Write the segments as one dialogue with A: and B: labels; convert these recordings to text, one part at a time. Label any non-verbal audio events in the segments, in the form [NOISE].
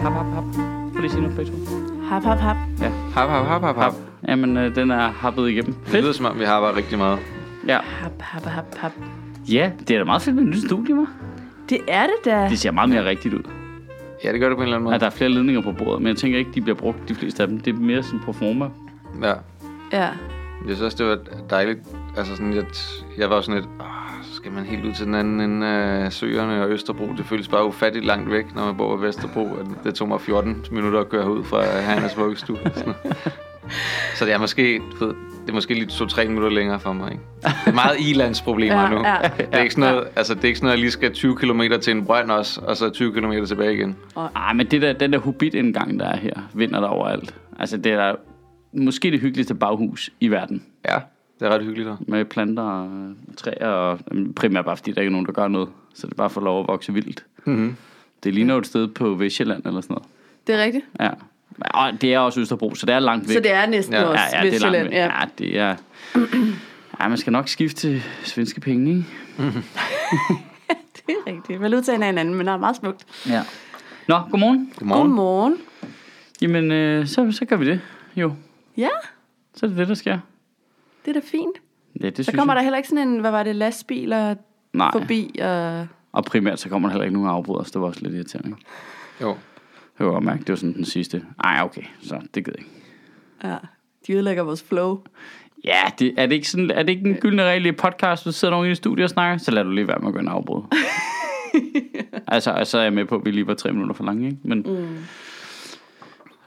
A: Hap, hap, hap. Prøv lige at sige noget, Fredo.
B: Hap, hap, hap.
A: Ja,
C: Hap, hap, hap, hap, hap.
A: jamen øh, den er happet igennem.
C: Det lyder
A: Fedt.
C: som om, vi har bare rigtig meget.
A: Ja.
B: Hap, hap, hap, hap.
A: ja, det er da meget fedt med et nyt studie, hva'?
B: Det er det da.
A: Det ser meget mere rigtigt ud.
C: Ja, det gør det på en eller anden måde.
A: Ja, der er flere ledninger på bordet, men jeg tænker ikke, de bliver brugt, de fleste af dem. Det er mere sådan performer.
C: Ja.
B: Ja.
C: Jeg synes også, det var dejligt. Altså sådan, jeg, jeg var sådan lidt, "Åh, så skal man helt ud til den anden ende af Søerne og Østerbro. Det føles bare ufatteligt langt væk, når man bor på Vesterbro. at Det tog mig 14 minutter at køre ud fra
B: [LAUGHS]
C: Hannas vuggestue. Sådan. Så det er måske, du ved, det er måske lige to-tre minutter længere for mig. Ikke? Det er meget ilandsproblemer
B: [LAUGHS] Ja,
C: nu.
B: ja.
C: Det er ikke sådan noget, altså, det er ikke sådan noget, jeg lige skal 20 km til en brønd også, og så 20 km tilbage igen.
A: Ah, men det der, den der hobbit-indgang, der er her, vinder der overalt. Altså, det er måske det hyggeligste baghus i verden.
C: Ja, det er ret hyggeligt her.
A: Med planter og træer, og jamen, primært bare fordi der ikke er nogen, der gør noget. Så det er bare for lov at vokse vildt.
C: Mm-hmm.
A: Det ligner jo et sted på Vestjylland eller sådan noget.
B: Det er rigtigt.
A: Ja. Og det er også Østerbro, så det er langt væk.
B: Så det er næsten
C: Ja,
B: også
A: ja, ja, det er langt
B: Vestjylland.
A: væk. Ja. ja, det er... Ja, man skal nok skifte til svenske penge, ikke?
B: det er rigtigt. Valutaen er en anden, men det er meget smukt.
A: Ja. Nå, godmorgen.
C: Godmorgen.
B: Godmorgen.
A: Jamen, øh, så, så gør vi det. Jo,
B: Ja,
A: så er det det, der sker.
B: det er da fint.
A: Ja, det
B: Så
A: synes
B: kommer der
A: jeg.
B: heller ikke sådan en, hvad var det, lastbiler
A: Nej.
B: forbi. Og...
A: Og primært så kommer der heller ikke nogen afbryder, så det var også lidt irriterende. ikke?
C: Jo.
A: Det kan jeg godt mærke, det var sådan den sidste. Ej, okay, så det gider jeg ikke.
B: Ja, de ødelægger vores flow.
A: Ja, det, er, det ikke sådan, er det ikke en
B: Øh.
A: gyldne regel i podcast, hvis der sidder nogen i studiet og snakker, så lad du lige være med at gøre en
B: [LAUGHS]
A: afbrud. altså, og så er jeg med på, at vi lige var tre minutter for lange, ikke? Men, mm.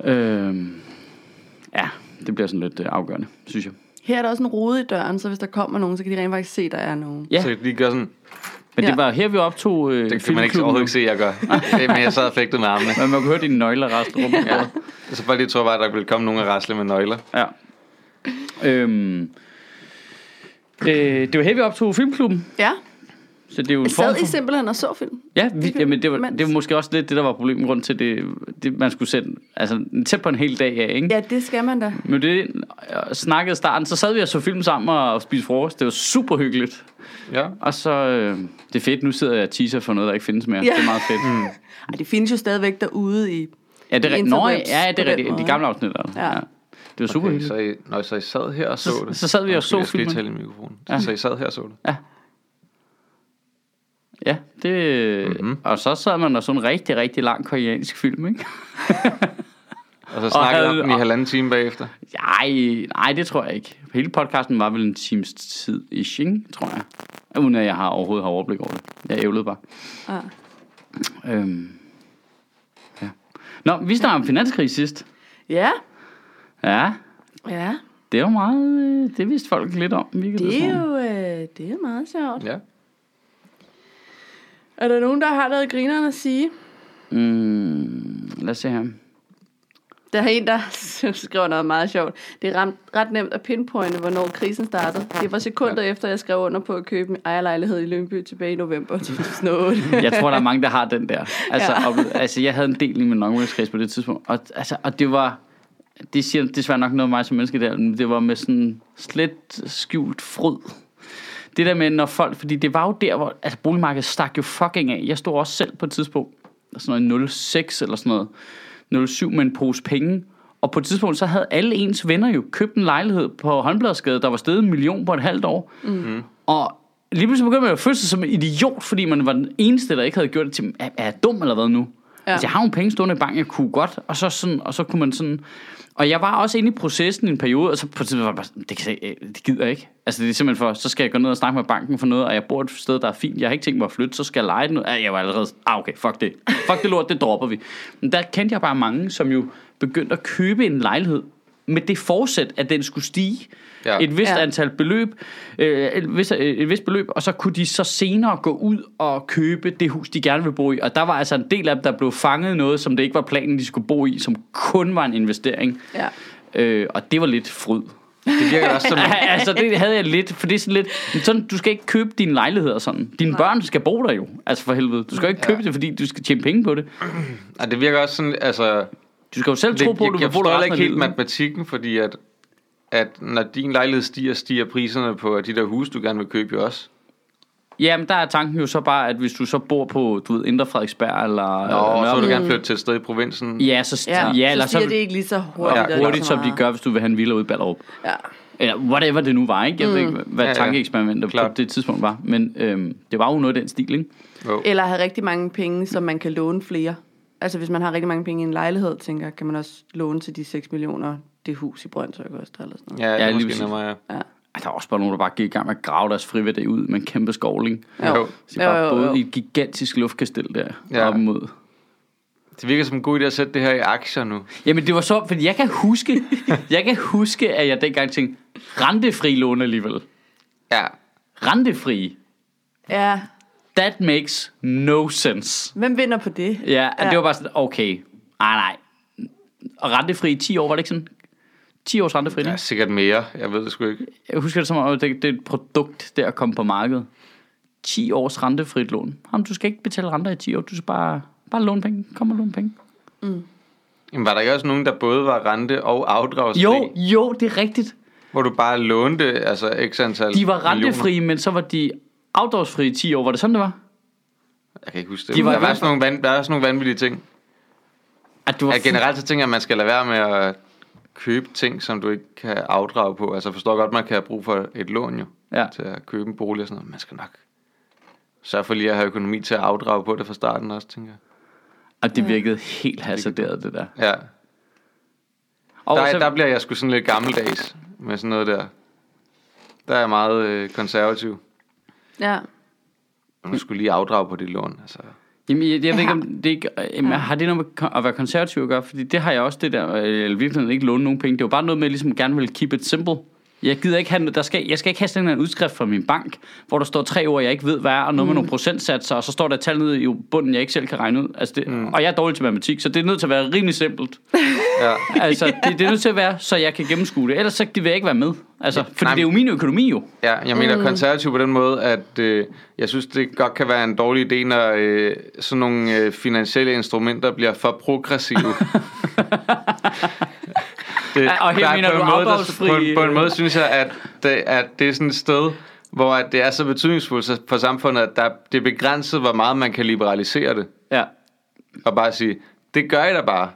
B: Mm.
A: øhm, ja, det bliver sådan lidt øh, afgørende, synes jeg.
B: Her er der også en rode i døren, så hvis der kommer nogen, så kan de rent faktisk se, der er nogen.
A: Ja.
C: Så kan de lige gøre sådan,
A: Men ja.
B: Ja.
A: det var her, vi optog øh,
C: Det kan man ikke overhovedet ikke se, jeg gør.
A: [LAUGHS]
C: Øh, Men jeg sad og fægtede med armene.
A: Men man kunne høre dine nøgler rasle rundt. ja.
C: Så bare lige tror bare, at der ville komme nogen og rasle med nøgler.
A: Ja. Øhm, øh, det var her, vi optog filmklubben.
B: Ja,
A: Så det er jo en
B: vi sad
A: form
B: I
A: for...
B: simpelthen og så film.
A: Ja, vi,
B: Det-
A: jamen det var, det var
B: mens-
A: måske også lidt det, der var problemet grund til det, det man skulle sætte, altså tæt på en hel dag af, ikke?
B: Ja, det skal man da.
A: Men det øh, snakkede i starten, så sad vi og så film sammen og spiste frokost. Det var super hyggeligt.
C: Ja.
A: Og så, øh, det er fedt, nu sidder jeg og teaser for noget, der ikke findes mere.
B: Ja.
A: Ja. Det er meget fedt. Mm.
B: Ej, det findes jo stadigvæk derude i...
A: Ja, det er rigtigt. Nå, ja,
B: Interwebs
A: ja,
B: på
A: det
B: den
A: er rigtigt. De
B: måde.
A: gamle afsnit, der.
B: Ja.
A: Ja. Det var super
C: Okay,
A: hyggeligt.
C: Øh, så, I, når, så I sad her og så,
A: Så-
C: det.
A: så sad vi og
C: Undskyld,
A: så
C: jeg skal lige
A: filmen.
C: tale i mikrofonen. Ja. Så I sad her og så det.
A: Ja, det... Mm-hmm. Og så sad man og så en rigtig, rigtig lang koreansk film, ikke?
C: Og så snakkede
A: havde-
C: om den i
A: og-
C: halvanden time bagefter.
A: Nej, nej, det tror jeg ikke. Hele podcasten var vel en times tid ish, ikke? tror jeg. Uden at jeg har overhovedet har overblik over det. Jeg ævlede bare.
B: Ja.
A: Øhm, ja. Nå, vi snakkede om finanskrig sidst.
B: Ja,
A: Ja,
B: ja.
A: det var meget... øh, Det vidste folk lidt om, virkelig.
B: Det er jo øh, det er meget sjovt.
C: Ja.
B: Er der nogen, der har noget grineren at sige?
A: Mm, lad os se her.
B: Der er en, der [LAUGHS] skriver noget meget sjovt. Det er ramt, ret nemt at pinpointe, hvornår krisen startede. Det var sekunder efter, jeg skrev under på at købe en ejerlejlighed i Lyngby tilbage i november 2008.
A: Jeg tror, der er mange, der har den der. Altså,
B: Ja.
A: ja. og, altså jeg havde en del i min omgangskreds på det tidspunkt. Og, altså, og det var... Det siger desværre nok noget om mig som menneske der, men det var med sådan slet skjult fryd. Det der med, når folk... Fordi det var jo der, hvor... Altså, boligmarkedet stak jo fucking af. Jeg stod også selv på et tidspunkt, sådan noget 06 eller sådan noget, 07 med en pose penge. Og på et tidspunkt, så havde alle ens venner jo købt en lejlighed på Håndbladsgade, der var steget en million på et halvt år. Mm. Og lige pludselig begyndte man at føle sig som en idiot, fordi man var den eneste, der ikke havde gjort det til, er, er jeg dum eller hvad nu? Ja.
B: Ja.
A: Altså, jeg har jo penge stående i banken, jeg kunne godt, og så, sådan, og så kunne man sådan... Og jeg var også inde i processen i en periode, og så på et tidspunkt var jeg bare sådan, det, kan, jeg- det gider jeg ikke. Altså det er simpelthen for, så skal jeg gå ned og snakke med banken for noget, og jeg bor et sted, der er fint, jeg har ikke tænkt mig at flytte, så skal jeg lege det noget. Ah, Jeg var allerede, ah okay, fuck det. Fuck det lort, det dropper vi. Men der kendte jeg bare mange, som jo begyndte at købe en lejlighed med det forsæt, at den skulle stige.
C: Ja.
A: Ja. Et vist
B: Ja.
A: ja. antal beløb, øh, et, vist, øh, et vist beløb, og så kunne de så senere gå ud og købe det hus, de gerne ville bo i. Og der var altså en del af dem, der blev fanget i noget, som det ikke var planen, de skulle bo i, som kun var en investering.
B: [LAUGHS] Ja.
A: Øh, og det var lidt fryd.
C: Det virker også som...
A: [LAUGHS] altså det havde jeg lidt, for det er sådan lidt, sådan, du skal ikke købe din lejlighed og sådan. Dine børn skal bo der jo, altså for helvede. Du skal jo ikke købe det, fordi du skal tjene penge på det.
C: Og det virker også sådan, altså...
A: Du skal jo selv
C: Det,
A: tro på, at du
C: jeg,
A: vil
C: jeg
A: bo der
C: forstår heller
A: resten
C: ikke
A: af
C: helt
A: livet.
C: matematikken, fordi at, at når din lejlighed stiger, stiger priserne på de der huse, du gerne vil købe jo også.
A: Jamen, der er tanken jo så bare, at hvis du så bor på, du ved, Indre Frederiksberg eller...
C: Nå, og så vil du
A: Nørrebro-
C: gerne flytte til et sted i provinsen.
A: Ja, så, ja, ja eller så,
B: stiger det ikke lige så hurtigt.
A: ja,
B: og
A: hurtigt,
B: ikke så
A: som de
B: meget.
A: gør, hvis du vil have en villa ude i Ballerup.
B: Ja.
A: Eller whatever det nu var, ikke? Jeg mm. ved ikke, hvad
C: Ja,
A: ja,
C: ja.
A: ja. tankeeksperimentet på
C: Klart.
A: det tidspunkt var. Men øhm, det var jo noget af den stil, ikke?
C: Jo.
B: Eller have rigtig mange penge, som man kan låne flere. Altså hvis man har rigtig mange penge i en lejlighed, tænker jeg, kan man også låne til de 6 millioner, det hus i Brøndshøj koster eller sådan noget.
C: Ja, det
A: Ja,
C: er
A: lige
C: måske
A: præcis.
C: nemmere, ja.
A: Ej, Der er også bare nogen, der bare gik i gang med at grave deres friværdi ud med en kæmpe skovling.
C: Jo.
A: Så de bare
B: Jo, jo, jo.
A: både i et gigantisk luftkastel der
C: Ja.
A: ja. op imod.
C: Det virker som en god idé at sætte det her i aktier nu.
A: Jamen det var så, fordi jeg kan huske, jeg kan huske, at jeg dengang tænkte, rentefri lån alligevel.
C: Ja.
A: Rentefri.
B: Ja,
A: That makes no sense.
B: hvem vinder på det?
A: Ja, ja.
B: Ja.
A: det var bare sådan, okay, nej nej. Og rentefri i 10 år, var det ikke sådan? 10 års rentefri,
C: ja,
A: ikke?
C: sikkert mere. Jeg ved det sgu ikke.
A: Jeg husker det som om, at det, det er et produkt, der at komme på markedet. 10 års rentefrit lån. Jamen, du skal ikke betale renter i 10 år, du skal bare, bare låne penge. Kom og låne penge.
C: Jamen, var der ikke også nogen, der både var rente- og afdragsfri?
A: Jo, jo, det er rigtigt.
C: Hvor du bare lånte altså x antal
A: De var
C: millioner.
A: rentefrie, men så var de afdragsfrie i 10 år. Var det sådan, det var?
C: Jeg kan ikke huske det.
A: De
C: De
A: var
C: var
A: i
C: der, var
A: hvert
C: sådan nogle van, der er sådan nogle vanvittige ting.
A: At du var
C: Ja, generelt så tænker jeg, at man skal lade være med at købe ting, som du ikke kan afdrage på. Altså jeg forstår godt, man kan have brug for et lån jo,
A: Ja.
C: til at købe en bolig og sådan noget. men Man skal nok sørge for lige at have økonomi til at afdrage på det fra starten også, tænker jeg.
A: at det virkede helt hasarderet, det der.
C: Ja,
A: Og
C: der,
A: så,
C: der bliver jeg sgu sådan lidt gammeldags med sådan noget der. Der er jeg meget øh, konservativ.
B: Ja.
C: Man skulle lige afdrage på dit lån, altså.
A: Jamen, jeg, jeg ved ikke,
B: Ja.
A: om det ikke, øh, jamen, har det noget med kon- at være konservativ at gøre? Fordi det har jeg også, det der, øh, eller virkelig ikke låne nogen penge. Det var bare noget med, at jeg ligesom gerne vil keep it simple. Jeg gider ikke have, noget- der skal, jeg skal ikke have sådan en eller anden udskrift fra min bank, hvor der står tre ord, jeg ikke ved, hvad er, og noget med nogle procentsatser, og så står der et tal nede i bunden, jeg ikke selv kan regne ud. Altså det, mm. Og jeg er dårlig til matematik, så det er nødt til at være rimelig simpelt.
C: Ja.
A: Altså, det, det er nødt til at være, så jeg kan gennemskue det. Ellers så vil jeg ikke være med. Altså, fordi
C: nej,
A: det er jo min økonomi jo.
C: Ja, jeg mener mm. konservativ på den måde, at øh, jeg synes, det godt kan være en dårlig idé, når øh, sådan nogle øh, finansielle instrumenter bliver for progressive.
A: [LAUGHS]
C: det,
A: Ja, og her
C: der er
A: mener
C: på en
A: du
C: måde,
A: afdragsfri,
C: På en, på en
A: øh.
C: måde synes jeg, at det, at det er sådan et sted, hvor at det er så betydningsfuldt så- for samfundet, at der, det er begrænset, hvor meget man kan liberalisere det.
A: Ja.
C: Og bare sige, det gør I da bare.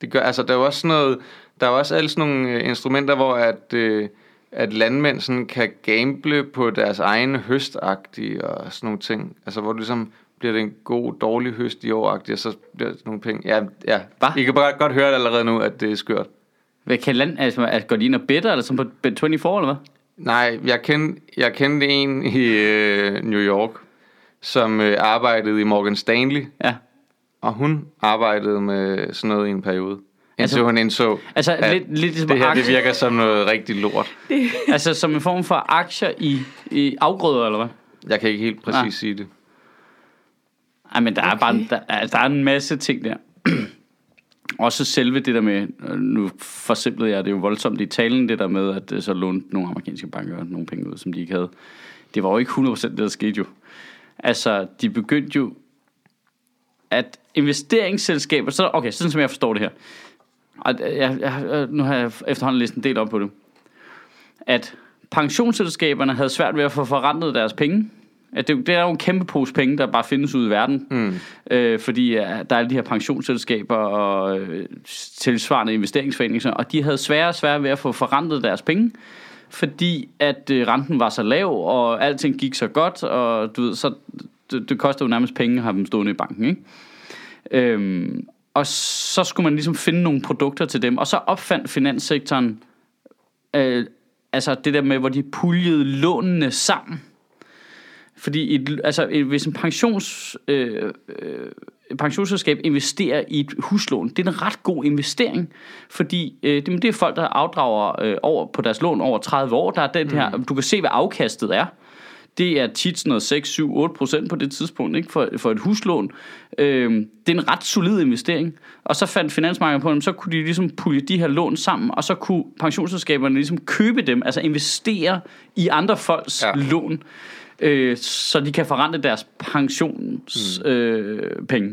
C: Det gør, altså, der er jo også sådan noget, der er jo også alle sådan nogle øh, instrumenter, hvor at, øh, at landmænd sådan kan gamble på deres egen høstagtige og sådan nogle ting. Altså, hvor det ligesom bliver det en god, dårlig høst i år og så bliver det sådan nogle penge. Ja, ja.
A: Hva?
C: I kan bare godt høre det allerede nu, at det er skørt.
A: Hvad kan land, altså, altså, går de ind og bedre, eller som på Bet 24, eller hvad?
C: Nej, jeg kendte, jeg kendte en i øh, New York, som øh, arbejdede i Morgan Stanley,
A: Ja.
C: og hun arbejdede med sådan noget i en periode. Indtil
A: Altså-
C: altså, hun indså,
A: Altså,
C: at
A: lidt, lidt ligesom
C: det her det
A: aktier-
C: virker som noget rigtig lort.
A: Altså som en form for aktier i, i afgrøder, eller hvad?
C: Jeg kan ikke helt præcis
A: Nej.
C: sige det.
A: Ej, men der okay. er
B: Okay.
A: bare der, er- der er en masse ting der. [CLEARS THROAT] Også selve det der med, øh, nu forsimplede jeg det jo voldsomt i talen, det der med, at øh, så lånte nogle amerikanske banker nogle penge ud, som de ikke havde. Det var jo ikke 100% det, der skete jo. Altså, de begyndte jo, at investeringsselskaber, så, okay, sådan som jeg forstår det her, og øh, jeg, jeg, jeg- nu har jeg efterhånden læst en del op på det, at pensionsselskaberne havde svært ved at få forrentet deres penge. At det, det er jo en kæmpe pose penge, der bare findes ude i verden. Mm. Øh, fordi ja, der er alle de her pensionsselskaber og øh, tilsvarende investeringsforeninger, og de havde sværere og sværere ved at få forrentet deres penge. Fordi at øh, renten var så lav, og alting gik så godt, og du ved, så det, det koster jo nærmest penge at have dem stående i banken, ikke? Øhm, og så skulle man ligesom finde nogle produkter til dem, og så opfandt finanssektoren øh, altså det der med, hvor de puljede lånene sammen. Fordi et, altså, et, hvis en pensions, øh, øh, et pensionsselskab investerer i et huslån, det er en ret god investering, fordi øh, det, men det er folk, der afdrager øh, over på deres lån over 30 år. Der er den her, du kan se, hvad afkastet er. Det er tit sådan noget 6, 7, 8 procent på det tidspunkt ikke? For, for et huslån. Øhm, det er en ret solid investering. Og så fandt finansmarkedet på dem, så kunne de ligesom pulje de her lån sammen, og så kunne pensionsselskaberne ligesom købe dem, altså investere i andre folks
C: Ja.
A: ja. lån, øh, så de kan forrente deres pensionspenge. Øh, penge.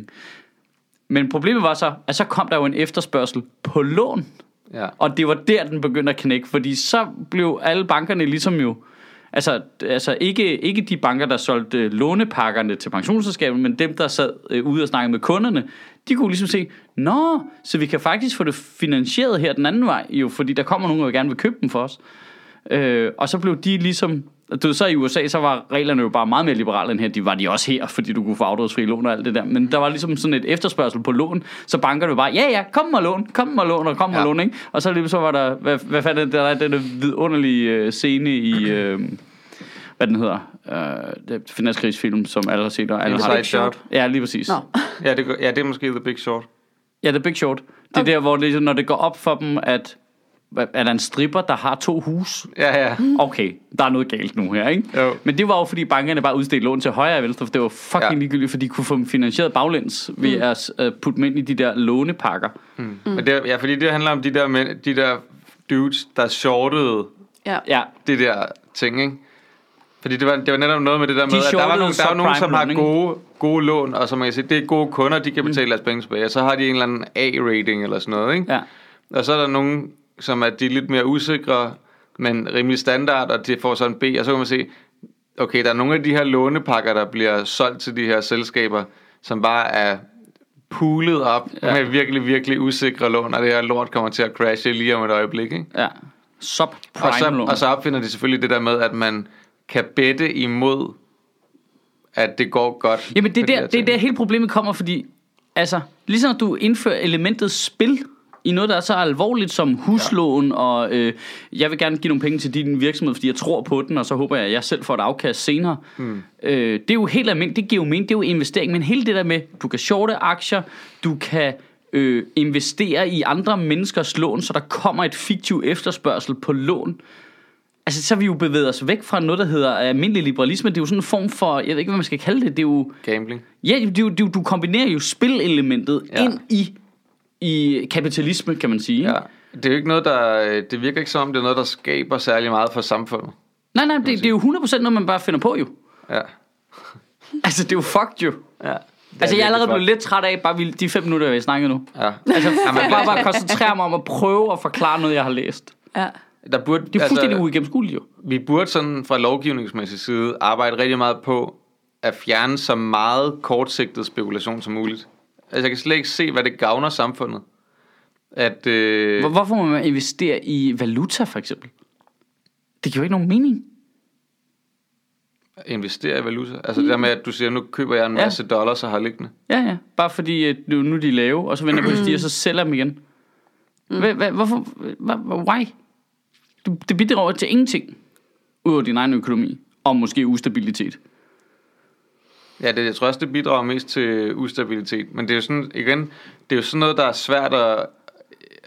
A: Men problemet var så, at så kom der jo en efterspørgsel på lån.
C: Ja.
A: Og det var der, den begyndte at knække, fordi så blev alle bankerne ligesom jo... Altså, altså ikke, ikke de banker, der solgte øh, lånepakkerne til pensionsselskaberne, men dem, der sad øh, ude og snakkede med kunderne, de kunne ligesom se, nå, så vi kan faktisk få det finansieret her den anden vej, jo, fordi der kommer nogen, der gerne vil købe dem for os. Øh, og så blev de ligesom... Du ved, så i USA, så var reglerne jo bare meget mere liberale end her. De var de også her, fordi du kunne få afdragsfri lån og alt det der. Men der var ligesom sådan et efterspørgsel på lån, så bankerne bare, ja ja, kom og lån, kom og lån og kom ja.
C: Ja.
A: og lån, ikke? Og så lige så var der, hvad, hvad fanden er det, der er den der vidunderlige øh, scene i, øh, hvad den hedder, øh, det- finanskrigsfilm, som alle har set og alle har
C: Inside Job.
A: Ja, lige præcis.
B: Nå.
C: Ja det, gør- ja, det er måske The Big Short.
A: Ja, The Big Short. Det er okay. der, hvor ligesom, når det går op for dem, at hvad- er der en stripper, der har to hus,
C: Ja, ja.
A: Mm. okay, der er noget galt nu her, ikke?
C: Jo.
A: Men det var jo, fordi bankerne bare udstedte lån til højre og venstre, for det var fucking ja.
C: Ja.
A: ligegyldigt, for de kunne få dem finansieret baglæns ved mm. at øh, putte dem ind i de der lånepakker.
C: Mm. Men det, er- ja, fordi det handler om de der, mænd, de der dudes, der shortede
B: Ja.
A: Ja,
C: det der ting, ikke? Fordi det var, det var netop noget med det der med, at der var
A: shortede
C: nogen, der var nogen som har
A: subprime-lån,
C: gode, gode lån, og som man kan sige, det er gode kunder, de kan betale mm. deres penge tilbage, og så har de en eller anden A-rating eller sådan noget, ikke?
A: ja.
C: Og så er der nogen, som er de er lidt mere usikre, men rimelig standard, og de får så en B, og så kan man se, okay, der er nogle af de her lånepakker, der bliver solgt til de her selskaber, som bare er poolet op
A: Ja.
C: ja. med virkelig, virkelig usikre lån, og det her lort kommer til at crashe lige om et øjeblik, ikke?
A: ja.
C: Og så,
A: Subprime-lån.
C: og så opfinder de selvfølgelig det der med, at man kan bette imod, at det går godt.
A: Jamen, det er der,
C: med de her
A: det er
C: ting.
A: der hele problemet kommer, fordi altså, ligesom når du indfører elementet spil i noget, der er så alvorligt som huslån, ja. og øh, jeg vil gerne give nogle penge til din virksomhed, fordi jeg tror på den, og så håber jeg, at jeg selv får et afkast senere. Mm. Øh, det er jo helt almindeligt, det giver jo mening, det er jo investering, men hele det der med, du kan shorte aktier, du kan øh, investere i andre menneskers lån, så der kommer et fiktiv efterspørgsel på lån. Altså, så har vi jo bevæget os væk fra noget, der hedder almindelig liberalisme. Det er jo sådan en form for, jeg ved ikke, hvad man skal kalde det, det er jo...
C: Gambling.
A: Ja, du, du, du kombinerer jo spilelementet ja.
C: Ja.
A: ind i, i kapitalisme, kan man sige. Ja.
C: Ja. Det er jo ikke noget, der... øh, Det virker ikke som om, det er noget, der skaber særlig meget for samfundet.
A: Nej, nej, det, det er jo 100% noget, man bare finder på [LAUGHS] jo.
C: Ja.
A: Altså, det er jo fucked jo.
C: Ja.
A: Altså, jeg er allerede blevet lidt træt af bare vi- de fem minutter, jeg [LAUGHS] snakker nu.
C: Ja.
A: Altså, jeg bare, bare koncentrere mig om at prøve at forklare noget, jeg har læst.
B: ja.
C: [LAUGHS] Der burde,
A: Det er fuldstændig altså, uigennemskueligt jo.
C: vi burde sådan fra lovgivningsmæssig side arbejde rigtig meget på at fjerne så meget kortsigtet spekulation som muligt. Altså, jeg kan slet ikke se, hvad det gavner samfundet. At, øh,
A: Hvor, hvorfor må man investere i valuta, for eksempel? Det giver jo ikke nogen mening.
C: investere i valuta. Altså det der med, at du siger, nu køber jeg en
A: Ja.
C: masse dollars og har liggende.
A: Ja, ja. Bare fordi øh, nu nu er de lave, og så vender jeg på, at de stiger, og så sælger dem igen. Hva, hva, hvorfor? Hva, hva- why? Du, det bidrager til ingenting. Udover din egen økonomi. Og måske ustabilitet.
C: Ja, det, jeg tror også, det bidrager mest til ustabilitet. Men det er jo sådan, igen, det er jo sådan noget, der er svært at...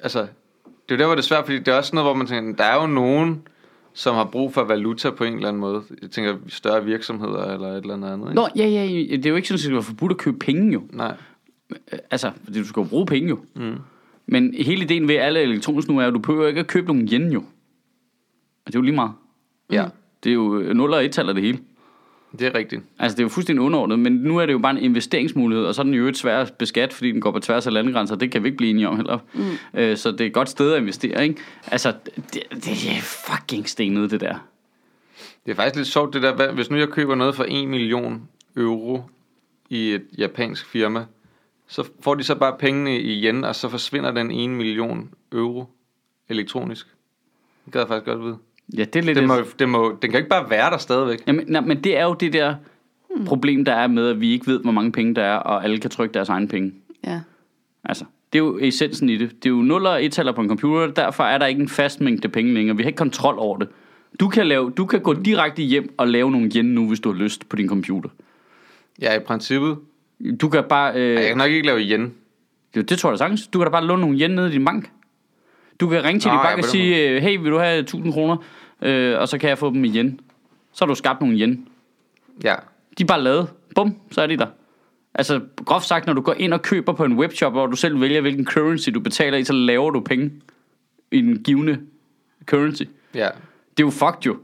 C: Altså, det er jo der, hvor det er svært, fordi det er også sådan noget, hvor man tænker, der er jo nogen, som har brug for valuta på en eller anden måde. Jeg tænker, større virksomheder eller et eller andet andet, ikke?
A: Nå, ja, ja. ja, Det er jo ikke sådan, at det skal være forbudt at købe penge, jo.
C: Nej.
A: Øh, Altså, fordi du skal jo bruge penge, jo. Mm. Men hele ideen ved alle elektronisk nu er, at du behøver ikke at købe nogen yen, jo. Og det er jo lige meget.
C: Ja,
A: Det er jo øh, 0 og 1 taler det hele.
C: det er rigtigt.
A: Altså, det er jo fuldstændig underordnet, men nu er det jo bare en investeringsmulighed, og så er den jo et svær at beskatte, fordi den går på tværs af landegrænser, det kan vi ikke blive enige om heller. Mm. Øh, så det er et godt sted at investere, ikke? Altså, det, det er fucking stenet, det der.
C: Det er faktisk lidt sjovt, det der, hvad- hvis nu jeg køber noget for 1 million euro i et japansk firma, så får de så bare pengene i yen, og så forsvinder den 1 million euro elektronisk. Det gad jeg faktisk godt vide.
A: Ja, det er lidt...
C: Det må, det må, den kan jo ikke bare være der stadigvæk.
A: Jamen, nej, men det er jo det der problem, der er med, at vi ikke ved, hvor mange penge der er, og alle kan trykke deres egne penge.
B: ja.
A: Altså, det er jo essensen i det. Det er jo nuller og ettaller på en computer, derfor er der ikke en fast mængde penge længere. Vi har ikke kontrol over det. Du kan, lave, du kan gå direkte hjem og lave nogle yen nu, hvis du har lyst på din computer.
C: Ja, i princippet.
A: Du kan bare... Øh,
C: Jeg kan nok ikke lave yen.
A: det, det tror jeg da sagtens. Du kan da bare låne nogle yen ned i din bank. Du kan ringe til
C: Nå,
A: din
C: ja,
A: bank og
C: på den
A: sige, øh, hey, vil du have 1000 kroner? Øh, og så kan jeg få dem i yen. Så har du skabt nogle yen.
C: Ja.
A: De er bare lavet. Bum, så er de der. Altså, groft sagt, når du går ind og køber på en webshop, hvor du selv vælger, hvilken currency du betaler i, så laver du penge i den givende currency.
C: Ja.
A: Det er jo fucked jo.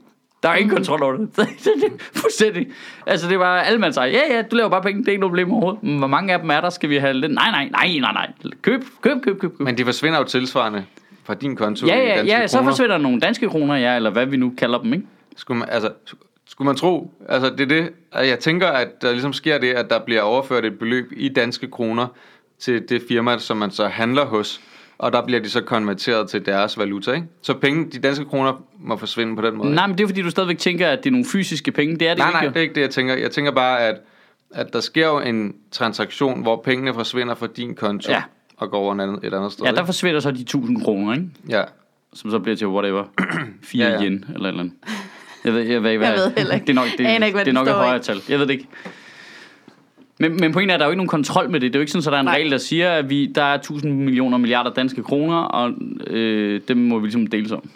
A: Der er
C: Mm.
A: ingen kontrol over det. [LAUGHS] Fuldstændig. Altså, det var alle, man sagde, ja, ja, du laver bare penge, det er ikke noget problem overhovedet. Men Hvor mange af dem er der? Skal vi have lidt? Nej, nej, nej, nej, nej. Køb, køb, køb, køb. køb.
C: Men de forsvinder jo tilsvarende fra din konto
A: Ja,
C: i
A: ja,
C: danske
A: ja, så
C: kroner.
A: forsvinder nogle danske kroner, ja, eller hvad vi nu kalder dem, ikke?
C: Skulle man, altså, skulle man tro, altså det er det, og jeg tænker, at der ligesom sker det, at der bliver overført et beløb i danske kroner til det firma, som man så handler hos, og der bliver de så konverteret til deres valuta, ikke? Så penge, de danske kroner må forsvinde på den måde.
A: Nej, men det er fordi, du stadigvæk tænker, at det er nogle fysiske penge. Det er det
C: Nej,
A: ikke.
C: nej,
A: jo.
C: det er ikke det, jeg tænker. Jeg tænker bare, at, at der sker jo en transaktion, hvor pengene forsvinder fra din konto
A: Ja.
C: og går over en anden, et andet sted.
A: Ja,
C: ikke?
A: der forsvinder så de 1000 kroner, ikke?
C: ja.
A: Som så bliver til
B: [CLEARS THROAT]
A: whatever. 4
C: Ja, ja.
A: ja, ja. yen, eller et eller andet. Jeg ved, jeg ved ikke, hvad
B: Jeg ved heller
A: [LAUGHS]
B: ikke.
A: Det er nok, det,
B: Aner ikke, hvad
A: det er nok
B: den
A: et
B: står i.
A: højere tal. Jeg ved det ikke. Men, men pointen er, at der er jo ikke nogen kontrol med det. Det er jo ikke sådan, at der er en
B: Nej.
A: regel, der siger, at vi, der er 1000 millioner milliarder danske kroner, og øh, dem må vi ligesom deles om.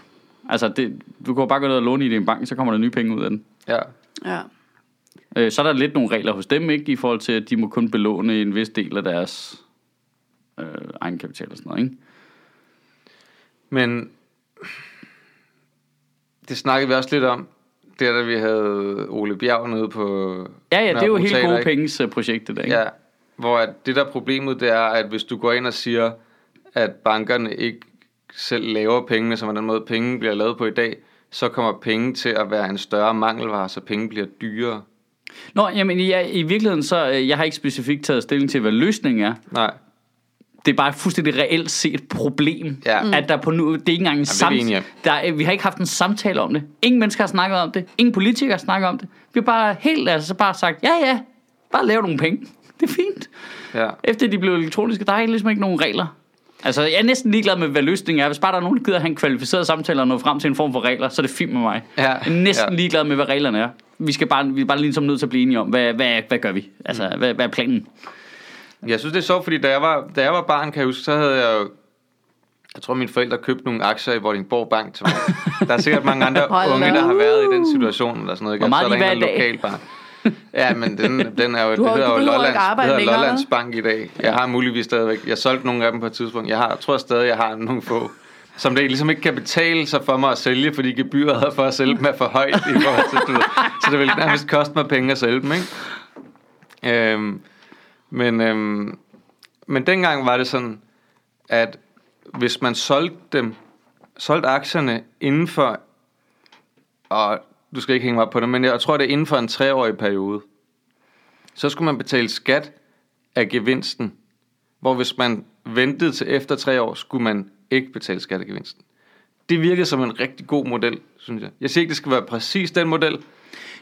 A: Altså, det, du kan jo bare gå ned og låne i din bank, så kommer der nye penge ud af den.
C: ja.
B: Ja.
A: Øh, så er der lidt nogle regler hos dem, ikke? I forhold til, at de må kun belåne en vis del af deres øh, egenkapital og sådan noget, ikke?
C: Men det snakkede vi også lidt om, der da vi havde Ole Bjerg nede på...
A: Ja, ja, det er jo
C: Nørrebro
A: helt
C: Teater,
A: gode
C: ikke?
A: penges øh, projekt, det der, ikke?
C: Ja, hvor at det der er problemet, det er, at hvis du går ind og siger, at bankerne ikke selv laver pengene, som er den måde penge bliver lavet på i dag, så kommer penge til at være en større mangelvare, så penge bliver dyrere.
A: Nå, jamen ja, i virkeligheden så, øh, jeg har ikke specifikt taget stilling til, hvad løsningen er.
C: Nej,
A: Det er bare fuldstændig reelt set et problem,
C: Ja. Mm.
A: at der på nu, det er ikke engang en
C: det er vi enige om.
A: samt, der, er- vi har ikke haft en samtale om det. Ingen mennesker har snakket om det. Ingen politikere har snakket om det. Vi har bare helt altså bare sagt, ja ja, bare lave nogle penge. Det er fint.
C: ja.
A: Efter de blev elektroniske, der er ligesom ikke nogen regler. Altså, jeg er næsten ligeglad med, hvad løsningen er. Hvis bare der er nogen, der gider have en kvalificeret samtale og nå frem til en form for regler, så er det fint med mig.
C: Ja,
A: Jeg er næsten
C: ja.
A: ligeglad med, hvad reglerne er. Vi, skal bare, vi er bare ligesom nødt til at blive enige om, hvad, hvad, hvad gør vi? Altså,
C: Mm.
A: hvad, hvad er planen?
C: Jeg synes, det er sjovt, fordi da jeg, var, da jeg var barn, kan jeg huske, så havde jeg jo... Jeg tror, mine forældre købte nogle aktier i Vordingborg Bank til mig.
A: [LAUGHS]
C: Der er sikkert mange andre
B: Hold da
C: unge, der har været i den situation. Eller sådan noget, ikke?
A: Hvor meget
C: så er
A: de
C: der en
A: hver
C: eller anden lokal bank. Ja, men den, den er jo,
B: Du har-
C: det
B: du
C: hedder jo
B: behøver ikke
C: Lollands, det
B: arbejde
C: hedder
B: længere,
C: Lollands
B: vel?
C: Bank i dag. Jeg har muligvis stadigvæk. Jeg solgte nogle af dem på et tidspunkt. Jeg, har, jeg tror stadig, jeg har nogle få som det ligesom ikke kan betale sig for mig at sælge, fordi gebyret for at sælge dem er for højt. I forhold til, du ved. Så det vil nærmest koste mig penge at sælge dem, ikke? Øhm, men, øhm, men dengang var det sådan, at hvis man solgte dem, solgte aktierne inden for, og du skal ikke hænge mig op på det, men jeg tror, det er inden for en treårig periode, så skulle man betale skat af gevinsten. Hvor hvis man ventede til efter tre år, skulle man ikke betale skat af gevinsten. Det virkede som en rigtig god model, synes jeg. Jeg siger ikke, det skal være præcis den model,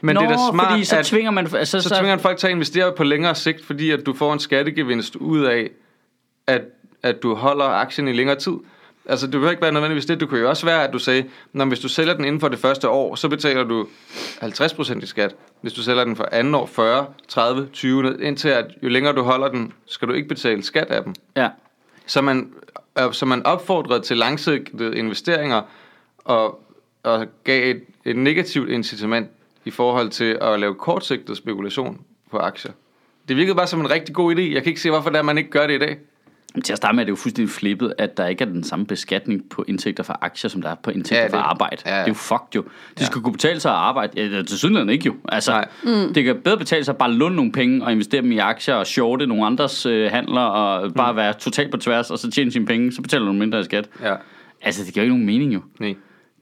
C: men
A: Nå,
C: det er da smart,
A: fordi så
C: at
A: tvinger man... Altså,
C: så, så tvinger han folk til at investere på længere sigt, fordi at du får en skattegevinst ud af, at, at du holder aktien i længere tid. Altså, det behøver ikke være nødvendigvis det. Det kunne jo også være, at du sagde, når hvis du sælger den inden for det første år, så betaler du 50% i skat. Hvis du sælger den for andet år, 40, 30, 20, ned- indtil at jo længere du holder den, skal du ikke betale skat af dem.
A: Ja.
C: Så man, øh, så man opfordrede til langsigtede investeringer og, og gav et, et negativt incitament i forhold til at lave kortsigtet spekulation på aktier. Det virkede bare som en rigtig god idé. Jeg kan ikke se, hvorfor det er, man ikke gør det i dag.
A: Men Til at starte med er det jo fuldstændig flippet, at der ikke er den samme beskatning på indtægter fra aktier, som der er på indtægter
C: Ja,
A: ja,
C: det-
A: fra arbejde.
C: ja,
A: Ja,
C: ja.
A: ja. Det er jo fucked jo. Det ja. skal kunne betale sig at arbejde. Ja, det er til synligheden ikke jo. Altså,
C: Nej.
A: mm. Det kan bedre betale sig at bare låne nogle penge og investere dem i aktier og shorte nogle andres øh, handler og bare mm. være totalt på tværs og så tjene sine penge, så betaler du mindre i skat.
C: Ja,
A: Altså, det giver jo ikke nogen mening jo.
C: nej.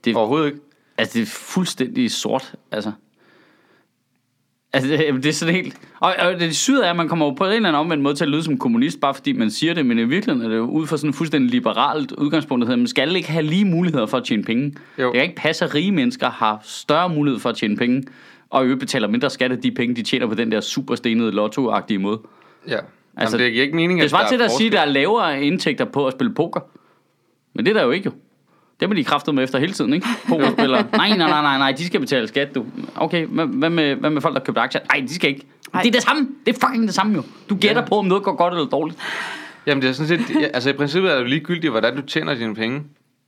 A: Det-
C: Overhovedet ikke.
A: Altså, det er fuldstændig sort, altså. Altså, det, det er sådan helt... Og, og det syde er, at man kommer jo på en eller anden omvendt måde til at lyde som kommunist, bare fordi man siger det, men i virkeligheden er det jo ud fra sådan et fuldstændig liberalt udgangspunkt, der hedder, man skal ikke have lige muligheder for at tjene penge.
C: Jo.
A: Jo. Det kan ikke passe, at rige mennesker har større mulighed for at tjene penge, og i øvrigt betaler mindre skat af de penge, de tjener på den der superstenede lottoagtige måde.
C: Ja. Altså,
A: Altså,
C: Jamen, det giver ikke mening,
A: Det svarer til
C: er
A: at sige, at der er lavere indtægter på at spille poker. Men det er der jo ikke jo. Det er de kraftet med efter hele tiden, ikke?
C: [LAUGHS]
A: Pokerspillere. Nej, nej, nej, nej, nej, de skal betale skat, du. Okay, hvad hvad med, hvad med folk, der købte aktier? Nej, de skal ikke.
B: Ej.
A: Det er det samme. Det er fucking det samme jo. Du gætter
C: Ja.
A: ja. på, om noget går godt eller dårligt.
C: forskel. Jamen, det er sådan set... ja, Altså, i princippet er det jo ligegyldigt, hvordan du tjener dine penge.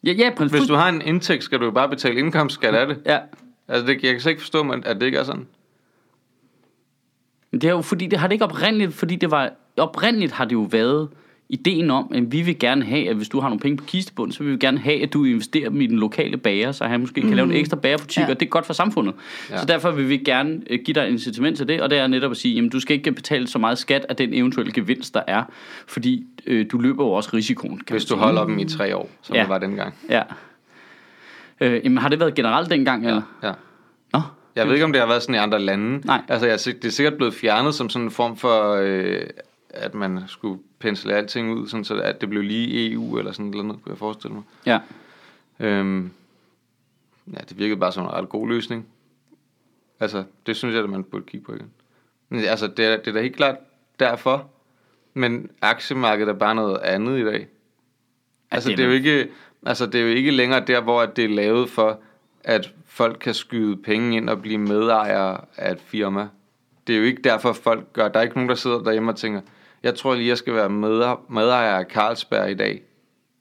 A: Ja, ja, prins.
C: Hvis du har en indtægt, skal du jo bare betale indkomstskat af det.
A: Ja.
C: Altså, det, jeg kan slet ikke forstå, at det ikke er sådan.
A: Men det er jo fordi, det har det ikke oprindeligt, fordi det var, oprindeligt har det jo været ideen om, at vi vil gerne have, at hvis du har nogle penge på kistebunden, så vil vi gerne have, at du investerer dem i den lokale bager, så han måske kan lave en ekstra bagerbutik,
B: Ja.
A: ja. og det er godt for samfundet.
C: Ja.
A: Ja. Så derfor vil vi gerne øh, give dig et incitament til det, og det er netop at sige, jamen du skal ikke betale så meget skat af den eventuelle gevinst, der er, fordi øh, du løber jo også risikoen. Kan
C: Hvis
A: man
C: du
A: sige.
C: holder dem i tre år, som
A: Ja.
C: det var dengang.
A: Ja. Øh, jamen har det været generelt dengang, eller?
C: Ja. Jeg ved ikke, om det har været sådan i andre lande.
A: Nej.
C: Altså, jeg, er sik- det er sikkert blevet fjernet som sådan en form for, øh, at man skulle pensle alting ud, sådan så at det blev lige EU eller sådan noget, kunne jeg forestille mig.
A: Ja.
C: Øhm, ja, det virkede bare som en ret god løsning. Altså, det synes jeg, at man burde kigge på igen. Men, altså, det er, det er da helt klart derfor. Men aktiemarkedet er bare noget andet i dag. Altså,
A: det er
C: det er jo ikke, altså, det er jo ikke længere der, hvor at det er lavet for, at folk kan skyde penge ind og blive medejere af et firma. Det er jo ikke derfor, folk gør. Der er ikke nogen, der sidder derhjemme og tænker, jeg tror lige, jeg skal være mede- medejer af Carlsberg i dag,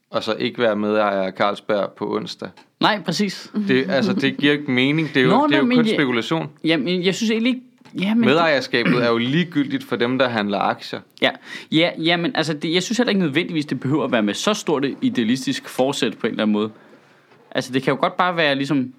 C: og så ikke være medejer af Carlsberg på onsdag.
A: Nej, præcis.
C: Det, altså, det giver ikke mening. Det er jo,
A: Nå,
C: Nå, det er
A: nej,
C: jo
A: men
C: kun
A: jeg-
C: spekulation.
A: Jamen, jeg synes egentlig ikke... Ja, men,
C: Medejerskabet er jo ligegyldigt for dem, der handler aktier.
A: ja. Ja, ja, men altså, det, jeg synes heller ikke nødvendigvis, det behøver at være med så stort et idealistisk forsæt på en eller anden måde. Altså, det kan jo godt bare være ligesom,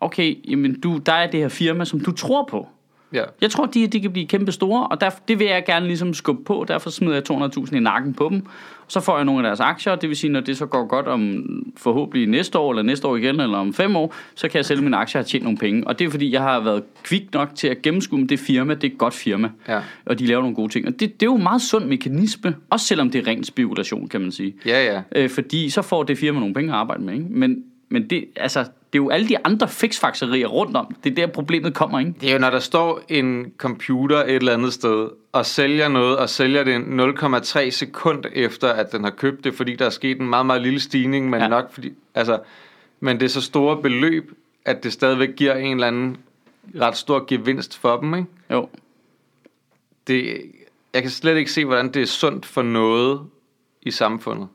A: okay, jamen, du, der er det her firma, som du tror på.
C: Ja.
A: Jeg tror, de, de kan blive kæmpe store, og der, det vil jeg gerne ligesom skubbe på. Derfor smider jeg 200.000 i nakken på dem. Så får jeg nogle af deres aktier, og det vil sige, når det så går godt om forhåbentlig næste år, eller næste år igen, eller om fem år, så kan jeg sælge mine aktier og tjene nogle penge. Og det er fordi, jeg har været kvik nok til at gennemskue, om det firma, det er et godt firma.
C: Ja.
A: Og de laver nogle gode ting. Og det, det er jo en meget sund mekanisme, også selvom det er ren spekulation, kan man sige.
C: Ja, ja.
A: Øh, fordi så får det firma nogle penge at arbejde med, ikke? Men, men det, altså, det er jo alle de andre fiksfakserier rundt om. Det er der, problemet kommer, ikke?
C: Det er jo, når der står en computer et eller andet sted, og sælger noget, og sælger det 0,3 sekund efter, at den har købt det, fordi der er sket en meget, meget lille stigning, men
A: Ja.
C: ja. nok fordi... Altså, men det er så store beløb, at det stadigvæk giver en eller anden ret stor gevinst for dem, ikke?
A: Jo.
C: Det, jeg kan slet ikke se, hvordan det er sundt for noget i samfundet.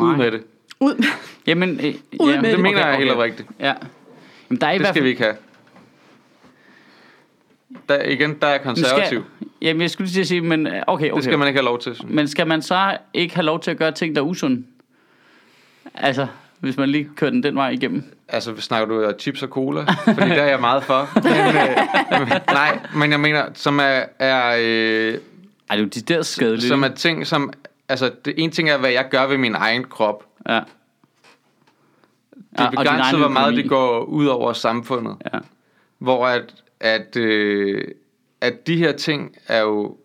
C: Ud med det.
B: Ud.
A: Jamen, øh,
B: Ud
A: ja,
B: med
C: Det mener jeg er helt oprigtigt.
A: Ja. Jamen, der er i
C: Det
A: hvert
C: skal
A: fald...
C: vi ikke have. Der, igen, der er jeg
A: Men skal-
C: konservativ.
A: Jamen, jeg skulle lige til at sige, men øh, okay, okay.
C: Det skal man ikke have lov til, synes jeg.
A: Men skal man så ikke have lov til at gøre ting, der er usunde? Altså, hvis man lige kører den den vej igennem.
C: Altså, snakker du om chips og cola? Fordi der er jeg meget for.
A: [LAUGHS]
C: Men, øh, [LAUGHS] men, nej, men jeg mener, som er, er,
A: Ej,
C: øh,
A: det er jo de der skadelige.
C: som er ting, som... Altså, det ene ting er, hvad jeg gør ved min egen krop.
A: Ja.
C: Det er
A: og din egen
C: begrænset, hvor meget
A: økonomi.
C: det går ud over samfundet.
A: Ja.
C: Hvor at, at, øh, at de her ting er jo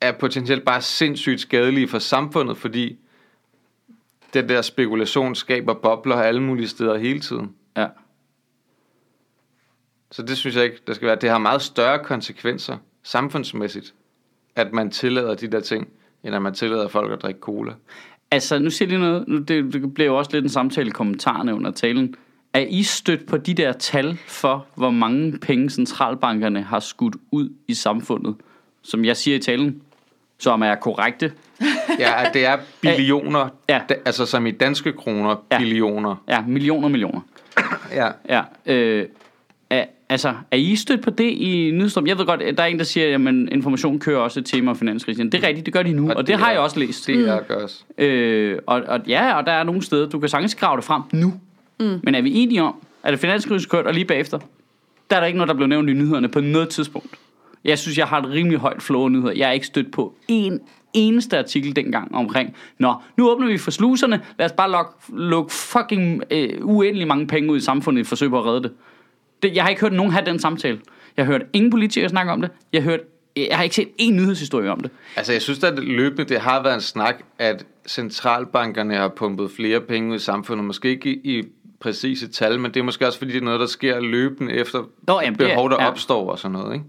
C: er potentielt bare sindssygt skadelige for samfundet, fordi den der spekulation skaber bobler alle mulige steder hele tiden.
A: ja.
C: Så det synes jeg ikke, der skal være. Det har meget større konsekvenser samfundsmæssigt, at man tillader de der ting, end at man tillader folk at drikke cola.
A: Altså, nu siger jeg lige noget. Nu, det, det bliver jo også lidt en samtale i kommentarerne under talen. Er I stødt på de der tal for, hvor mange penge centralbankerne har skudt ud i samfundet? Som jeg siger i talen, som er korrekte.
C: Ja, at det
A: [LAUGHS]
C: er billioner,
A: Ja.
C: da- altså som i danske kroner,
A: Ja.
C: billioner.
A: Ja, millioner millioner.
C: Ja.
A: Ja, øh, er, altså, er I stødt på det i Nydestrøm? Jeg ved godt, at der er en, der siger, at information kører også et tema om finanskrisen. Det er rigtigt, det gør de nu, og, og det, det
C: det
A: har
C: er-
A: jeg også læst.
C: Det er gørs.
A: Øh, og, og ja, og der er nogle steder, du kan sagtens grave det frem nu. Mm. Men er vi enige om, at det finanskrisen kørt, og lige bagefter, der er der ikke noget, der blev nævnt i nyhederne på noget tidspunkt. Jeg synes, jeg har et rimelig højt flow af nyheder. Jeg er ikke stødt på en eneste artikel dengang omkring, nå, nu åbner vi for sluserne, lad os bare lukke luk fucking øh, uendelig mange penge ud i samfundet i et forsøg på at redde det. det. Jeg har ikke hørt nogen have den samtale. Jeg har hørt ingen politikere snakke om det. Jeg har, hørt, jeg har ikke set en nyhedshistorie om det.
C: Altså, jeg synes da, at løbende det har været en snak, at centralbankerne har pumpet flere penge ud i samfundet. Måske ikke i, i præcise tal, men det er måske også, fordi det er noget, der sker løbende efter
A: Nå, jamen, det er-
C: behov, der
A: ja.
C: opstår og sådan noget, ikke?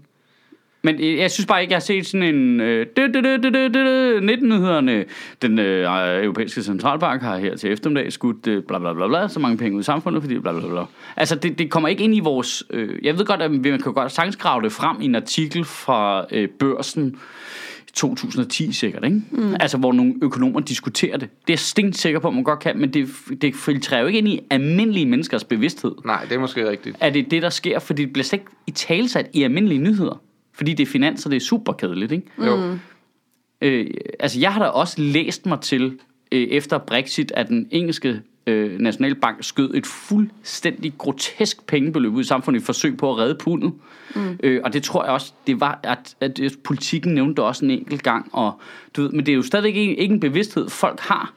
A: Men øh, jeg synes bare ikke, jeg har set sådan en... Øh, 19-nyhederne. Den øh, øh, europæiske centralbank har her til eftermiddag skudt øh, bla, bla, bla, bla, så mange penge ud i samfundet, fordi bla, bla, bla. Altså, det, det kommer ikke ind i vores... Øh, jeg ved godt, at vi- man kan godt sagtens grave det frem i en artikel fra øh, børsen 2010 sikkert, ikke? Mm. Altså, hvor nogle økonomer diskuterer det. Det er jeg stensikker på, at man godt kan, men det, det filtrerer jo ikke ind i almindelige menneskers bevidsthed
C: Nej, det er måske rigtigt.
A: er det det, der sker, fordi det bliver slet ikke i talesat i almindelige nyheder. Fordi det er finans, og det er super kedeligt, ikke?
C: Jo. Mm.
A: Øh, altså, jeg har da også læst mig til, øh, efter Brexit, at den engelske øh, nationalbank skød et fuldstændig grotesk pengebeløb ud i samfundet i et forsøg på at redde pundet. Mm. Øh, og det tror jeg også, det var, at, at, at politikken nævnte det også en enkelt gang. Og, du ved, men det er jo stadigvæk ikke, ikke en bevidsthed, folk har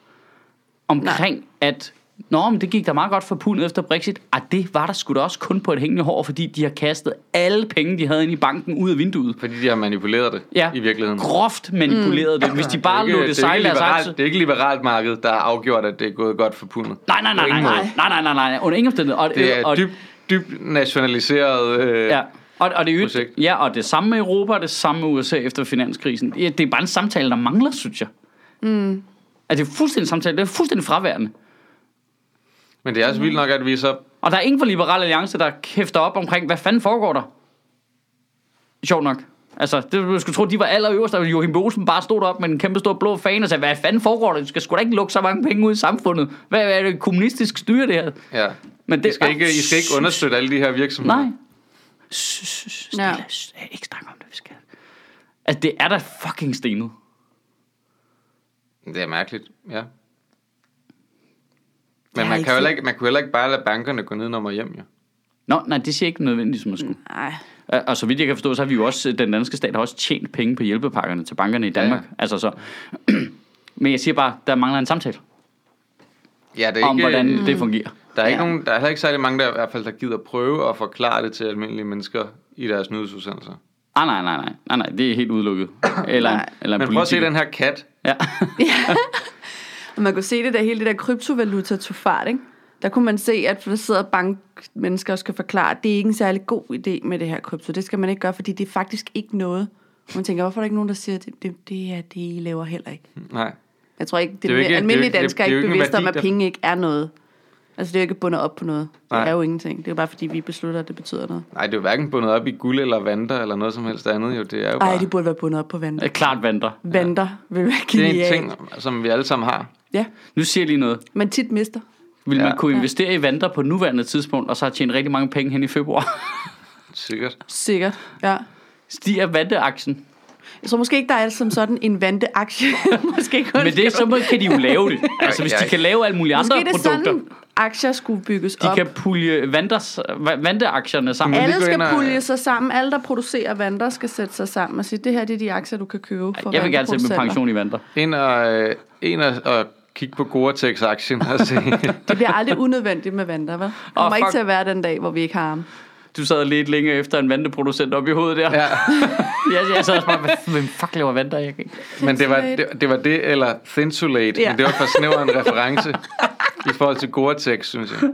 A: omkring, Nej. at Nå, men det gik da meget godt for pundet efter Brexit. Ah, det var der sgu da også kun på et hængende hår, fordi de har kastet alle penge, de havde inde i banken, ud af vinduet.
C: Fordi de har manipuleret det
A: Ja.
C: i virkeligheden.
A: Groft manipuleret mm. det. Hvis de bare lod det
C: det, er
A: sejle
C: ikke
A: deres
C: liberalt,
A: aktier...
C: det er ikke liberalt marked, der har afgjort, at det er gået godt for pundet.
A: Nej, nej, nej,
C: På
A: nej,
C: ingen
A: nej,
C: måde.
A: nej, nej, nej, nej, under ingen omstændighed. Og,
C: Det er
A: og,
C: dybt dyb nationaliseret. Øh,
A: Ja. Og, og, det er jo,
C: projekt.
A: ja, og det samme med Europa, og det samme med USA efter finanskrisen. Ja, det er bare en samtale, der mangler, synes jeg. Mm. Altså, det er fuldstændig en samtale, det er fuldstændig fraværende.
C: Men det er også vildt nok, at vi så...
A: Og der er ingen fra Liberal Alliance, der kæfter op omkring, hvad fanden foregår der? Sjovt nok. Altså, det du skulle tro, de var allerøverst, og Joachim B. Olsen bare stod op med en kæmpe stor blå fan og sagde, hvad fanden foregår der? Du skal sgu da ikke lukke så mange penge ud i samfundet. Hvad hvad er det kommunistisk styre, det her?
C: Ja.
A: Men det,
C: I, skal ikke, I skal ikke understøtte alle de her virksomheder.
A: Nej. Sh- sh- sh- Stille.
B: Ja.
A: Sh- Ikke snakke om det, vi skal. Altså, det er da fucking stenet.
C: Det er mærkeligt, ja. Men
B: har
C: man,
B: ikke
C: kan jo heller
B: set-
C: ikke, man kunne heller ikke bare lade bankerne gå ned og hjem, jo.
A: Nå, nej, det siger ikke nødvendigt, som man skulle.
B: Nej.
A: Og og så vidt jeg kan forstå, så har vi jo også, den danske stat har også tjent penge på hjælpepakkerne til bankerne i Danmark. Ja,
C: Ja,
A: ja. Altså så. [CLEARS THROAT] Men jeg siger bare, der mangler en samtale
C: Ja, det er
A: ikke, om,
C: ikke, øh,
A: hvordan det fungerer.
C: der, er ikke
B: Ja.
C: nogen, der er heller ikke særlig mange, der i hvert fald der gider prøve at forklare det til almindelige mennesker i deres nyhedsudsendelser.
A: Ah, nej, nej, nej, nej, nej, det er helt udelukket. Eller, en,
B: Nej.
A: eller en
C: Men prøv at se
A: politiker.
C: den her kat.
A: Ja.
B: Og man kunne se det der, hele det der kryptovaluta tog fart, ikke? Der kunne man se, at der sidder bankmennesker og skal forklare, at det er ikke en særlig god idé med det her krypto. Det skal man ikke gøre, fordi det er faktisk ikke noget. Og Man tænker, hvorfor er der ikke nogen, der siger, at det, det, det er det, I laver heller ikke.
C: Nej.
B: Jeg tror ikke, det, det
C: Det er jo ikke-
B: ikke, almindelige
C: det er jo ikke-
B: danskere er
C: det er jo
B: ikke
C: ikke en
B: bevidste om,
C: værdi,
B: at
C: der-
B: penge ikke er noget. Altså, det er jo ikke bundet op på noget. Det
C: Nej.
B: er jo ingenting. Det er jo bare, fordi vi beslutter, at det betyder noget.
C: Nej, det er jo hverken bundet op i guld eller vanter eller noget som helst andet. Jo. Det er jo bare...
B: Ej, det burde være bundet op på vanter.
A: Øh, [LAUGHS] Klart vandrer.
B: Vanter vil være
C: det er en
B: genialt.
C: ting, som vi alle sammen har.
B: Ja,
A: Nu siger jeg lige noget.
B: man tit mister.
A: Vil ja.
C: Ja.
A: man kunne investere i vandre på nuværende tidspunkt, og så have tjent rigtig mange penge hen i februar? [LAUGHS]
C: Sikkert.
B: Sikkert, ja.
A: Stiger vanteaktien?
B: Jeg tror måske ikke, der er som sådan en vanteaktie. [LAUGHS] måske kun
A: Men det, så må- kan de jo lave det. Altså, hvis de kan lave alle mulige
B: Måske
A: andre
B: er det
A: produkter.
B: sådan, aktier skulle bygges
A: De
B: op.
A: kan pulje vanders, vanteaktierne sammen.
C: Ja,
A: Ja.
C: lige
B: Alle
C: gå
B: skal
C: ind og-
B: pulje sig sammen. Alle, der producerer vanter, skal sætte sig sammen og sige, det her det er de aktier, du kan købe for
A: Jeg vil gerne sætte min
B: vanteproducenter."
A: pension i vandre.
C: Ind og, øh, ind og, og kigge på Gore-Tex-aktien og se.
B: [LAUGHS] Det bliver aldrig unødvendigt med vanter, vel? Det kommer
A: Åh,
B: ikke
A: fuck.
B: til at være den dag, hvor vi ikke har ham.
A: Du sad lidt længere efter en vanteproducent op i hovedet [LAUGHS] der. Ja.
C: ja.
A: Jeg, jeg sad også bare, "Hvad- hvem fuck laver vandre? Jeg kan ikke.
C: Men det var,
B: Thinsulate.
C: det, det var det, eller Thinsulate, ja.
B: Ja.
C: men det var for snæver en reference i forhold til Gore-Tex, synes jeg.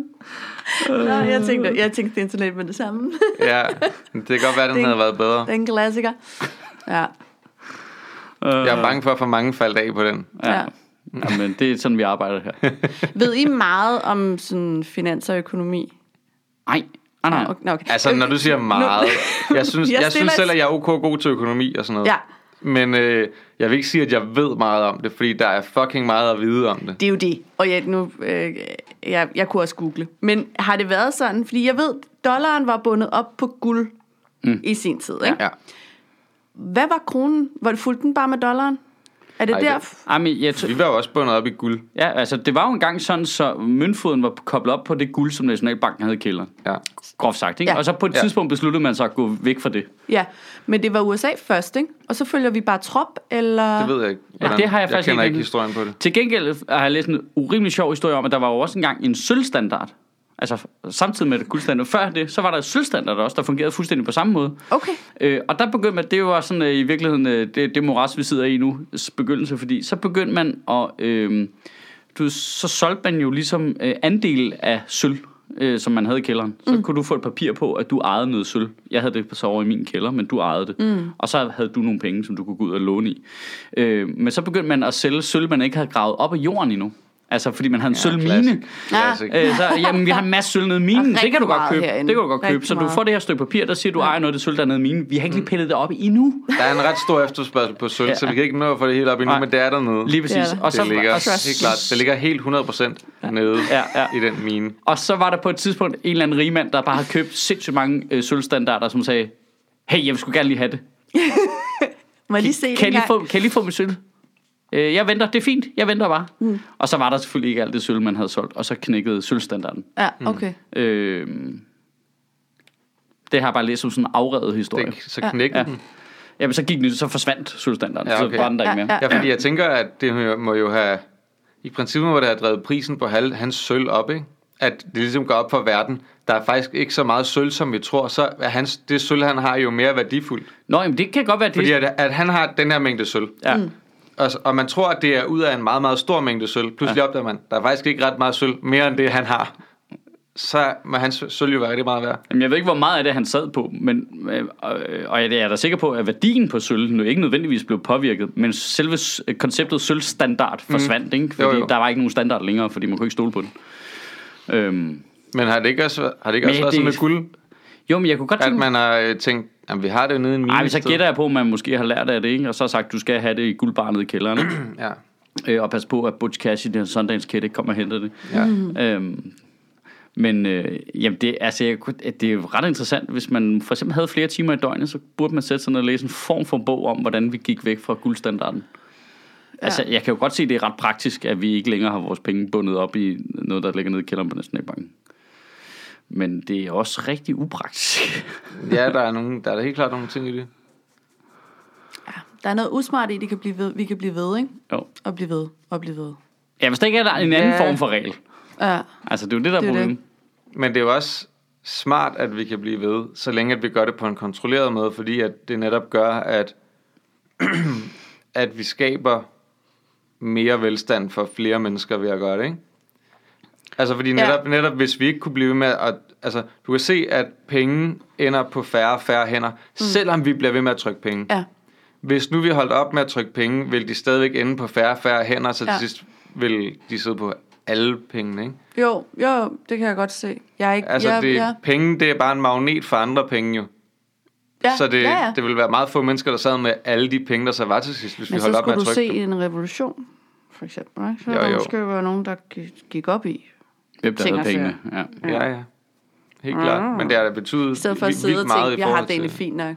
B: Nå, jeg tænkte, jeg tænkte det er internet med det [LAUGHS] samme.
C: Ja, det kan godt være, den
B: Det-
C: havde været bedre.
B: Det er en klassiker. Ja,
C: Jeg er bange for, at for mange faldt af på den.
A: Ja.
B: ja.
A: Jamen, det er sådan, vi arbejder her.
B: Ved I meget om sådan finans og økonomi?
A: [LAUGHS] Nej, ah, nej.
B: Okay, okay.
C: Altså, når du siger meget. Jeg synes, jeg
B: Jeg stiller
C: synes
B: et-
C: selv, at jeg er ok god til økonomi og sådan noget.
B: Ja.
C: Men øh, jeg vil ikke sige, at jeg ved meget om det, fordi der er fucking meget at vide om det.
B: Det er jo det. Og jeg, nu, øh, jeg, jeg kunne også google. Men har det været sådan? Fordi jeg ved, dollaren var bundet op på guld mm. i sin tid. Ikke?
C: Ja.
B: Hvad var kronen? Var det fulgte den bare med dollaren? Er det
C: Ej,
B: Ej,
C: det-
B: der?
A: Jamen, Ah, jeg t-
C: Vi var jo også bundet op i guld.
A: ja, altså, det var jo engang sådan, så møntfoden var koblet op på det guld, som Nationalbanken havde i kælderen.
C: Ja.
A: Groft sagt, ikke?
B: Ja.
A: Og så på et
C: Ja.
A: tidspunkt besluttede man sig at gå væk fra det.
B: Ja, men det var USA først, ikke? Og så følger vi bare trop, eller...
C: Det ved jeg ikke.
A: Ja, det har jeg faktisk
C: jeg kender
A: ikke
C: ikke
A: enten-
C: historien på det.
A: Til gengæld har jeg læst en urimelig sjov historie om, at der var jo også engang en sølvstandard. Altså samtidig med det guldstandard. Før det, så var der et sølvstandard også, der fungerede fuldstændig på samme måde.
B: Okay.
A: Øh, og der begyndte man, det var sådan øh, i virkeligheden øh, det, det moras, vi sidder i nu, s- begyndelse, fordi så begyndte man at, øh, du, ved, så solgte man jo ligesom øh, andel af sølv, øh, som man havde i kælderen. Så mm. kunne du få et papir på, at du ejede noget sølv. Jeg havde det så over i min kælder, men du ejede det. Mm. Og så havde du nogle penge, som du kunne gå ud og låne i. Øh, men så begyndte man at sælge sølv, man ikke havde gravet op af jorden endnu. Altså, fordi man havde en ja, sølvmine.
C: Classic.
A: Øh, så, jamen, vi har en masse sølv nede i minen.
B: Og
A: Det kan du
B: rigtig
A: godt
B: meget
A: købe.
B: herinde.
A: Det kan du godt købe.
B: Rigtig
A: Så du
B: meget. Mm.
A: får det her stykke papir, der siger, du ejer noget af det sølv, der er nede i minen. Vi har ikke lige pillet det op endnu.
C: Der er en ret stor efterspørgsel på sølv, ja.
A: Ja.
C: så vi kan ikke nå at få det helt op endnu,
A: Nej.
C: men det er dernede.
A: Lige
B: Det
A: præcis.
B: er der.
A: og, så,
C: det ligger
A: og, så,
C: helt klart. Det ligger helt 100% nede
A: Ja, ja.
C: i den mine.
A: og så var der på et tidspunkt en eller anden rigmand, der bare havde købt sindssygt mange øh, sølvstandarder, som sagde, hey, jeg vil sgu gerne lige have det.
B: Må jeg lige se
A: Kan jeg
B: det
A: lige få, kan jeg lige få mit sølv? Øh, jeg venter, det er fint, jeg venter bare. Mm. Og så var der selvfølgelig ikke alt det sølv, man havde solgt, og så knækkede sølvstandarden.
B: Ja,
C: Mm.
B: okay.
A: Øh, det har jeg bare læst som sådan en afrevet historie.
C: Det, så knækker ja. den.
A: Jamen, så gik den, så forsvandt sølvstandarden,
C: Ja,
A: ja,
C: okay.
A: okay. så brændte der ikke
B: Ja,
A: mere.
B: ja.
C: Ja, fordi jeg tænker, at det må jo have... i princippet var det at drevet prisen på hal, hans sølv op, ikke? At det ligesom går op for verden. Der er faktisk ikke så meget sølv, som vi tror. Så er hans, det sølv, han har, jo mere værdifuldt.
A: Nå, jamen det kan godt være det.
C: Fordi at, at han har den her mængde sølv.
A: ja. Mm.
C: Og, Altså, og man tror, at det er ud af en meget, meget stor mængde sølv. Pludselig opdager man, der er faktisk ikke ret meget sølv, mere end det, han har. Så må hans sølv jo være rigtig meget værd.
A: Jamen, jeg ved ikke, hvor meget af det han sad på, men, øh, øh, og jeg er da sikker på, at værdien på sølv nu ikke nødvendigvis blev påvirket, men selve s- øh, konceptet sølvstandard forsvandt, mm. ikke? fordi
C: Jo,
A: jo,
C: jo.
A: jo. der var ikke nogen standard længere, fordi man kunne ikke stole på den. Øhm,
C: Men har det ikke også, har det ikke også
A: Men
C: været sådan
A: det-
C: med guld,
A: jo, men jeg kunne godt
C: at
A: tænke
C: man har øh, tænkt, at vi har det jo nede i en mine
A: Ej, men så gætter jeg på, at man måske har lært af det, ikke? og så har sagt, du skal have det i guldbarnet i kælderen, ikke?
C: Ja.
A: øh, og pas på, at Butch Cassidy og Sundance Kid ikke kommer og henter det.
C: Ja.
A: Øhm, men øh, jamen det, altså, jeg, kunne- at det er jo ret interessant, hvis man for eksempel havde flere timer i døgnet, så burde man sætte sig ned og læse en form for bog om, hvordan vi gik væk fra guldstandarden. Ja. Altså, jeg kan jo godt se, at det er ret praktisk, at vi ikke længere har vores penge bundet op i noget, der ligger nede i kælderen på Nationalbanken. Men det er også rigtig upraktisk.
C: ja, der er, nogen, der er da helt klart nogle ting i det.
B: Ja, der er noget usmart i, det kan blive ved, vi kan blive ved, ikke?
A: jo.
B: Og blive ved, og blive ved.
A: Ja, hvis der ikke er der en anden
C: Ja.
A: form for regel.
B: Ja,
A: Altså, det er jo det, der er
B: Det er det.
A: problemet.
C: Men det er jo også smart, at vi kan blive ved, så længe at vi gør det på en kontrolleret måde, fordi at det netop gør, at, [CLEARS THROAT] at vi skaber mere velstand for flere mennesker ved at gøre det, ikke? Altså, fordi netop, ja. netop hvis vi ikke kunne blive ved med at... Altså, du kan se, at penge ender på færre og færre hænder, mm. selvom vi bliver ved med at trykke penge.
B: ja,
C: Hvis nu vi holdt op med at trykke penge, vil de stadigvæk ende på færre og færre hænder, så ja.
B: Ja.
C: til sidst vil de sidde på alle pengene, ikke?
B: jo, jo, det kan jeg godt se. Jeg er ikke,
C: Altså,
B: jeg,
C: det,
B: jeg,
C: penge, det er bare en magnet for andre penge jo.
B: ja,
C: så det,
B: ja, ja.
C: det ville være meget få mennesker, der sad med alle de penge, der så var til sidst, hvis
B: Men
C: vi holdt
B: så
C: op med
B: skulle
C: at
B: du
C: trykke
B: se
C: dem.
B: en revolution, for eksempel. Ikke? Så
C: Jo,
B: jo, der
C: jo.
B: jo. måske være nogen, der gik, gik op i.
A: Hvem der
B: Ting
A: havde
B: og sager.
A: pengene. Ja.
C: Ja, ja. Helt klart. Men det har da betydet
B: Mm. I stedet for at
C: vildt,
B: sidde
C: vildt
B: og
C: meget
B: tænke,
C: i
B: jeg har
C: forhold
B: det egentlig
C: til...
B: fint nok.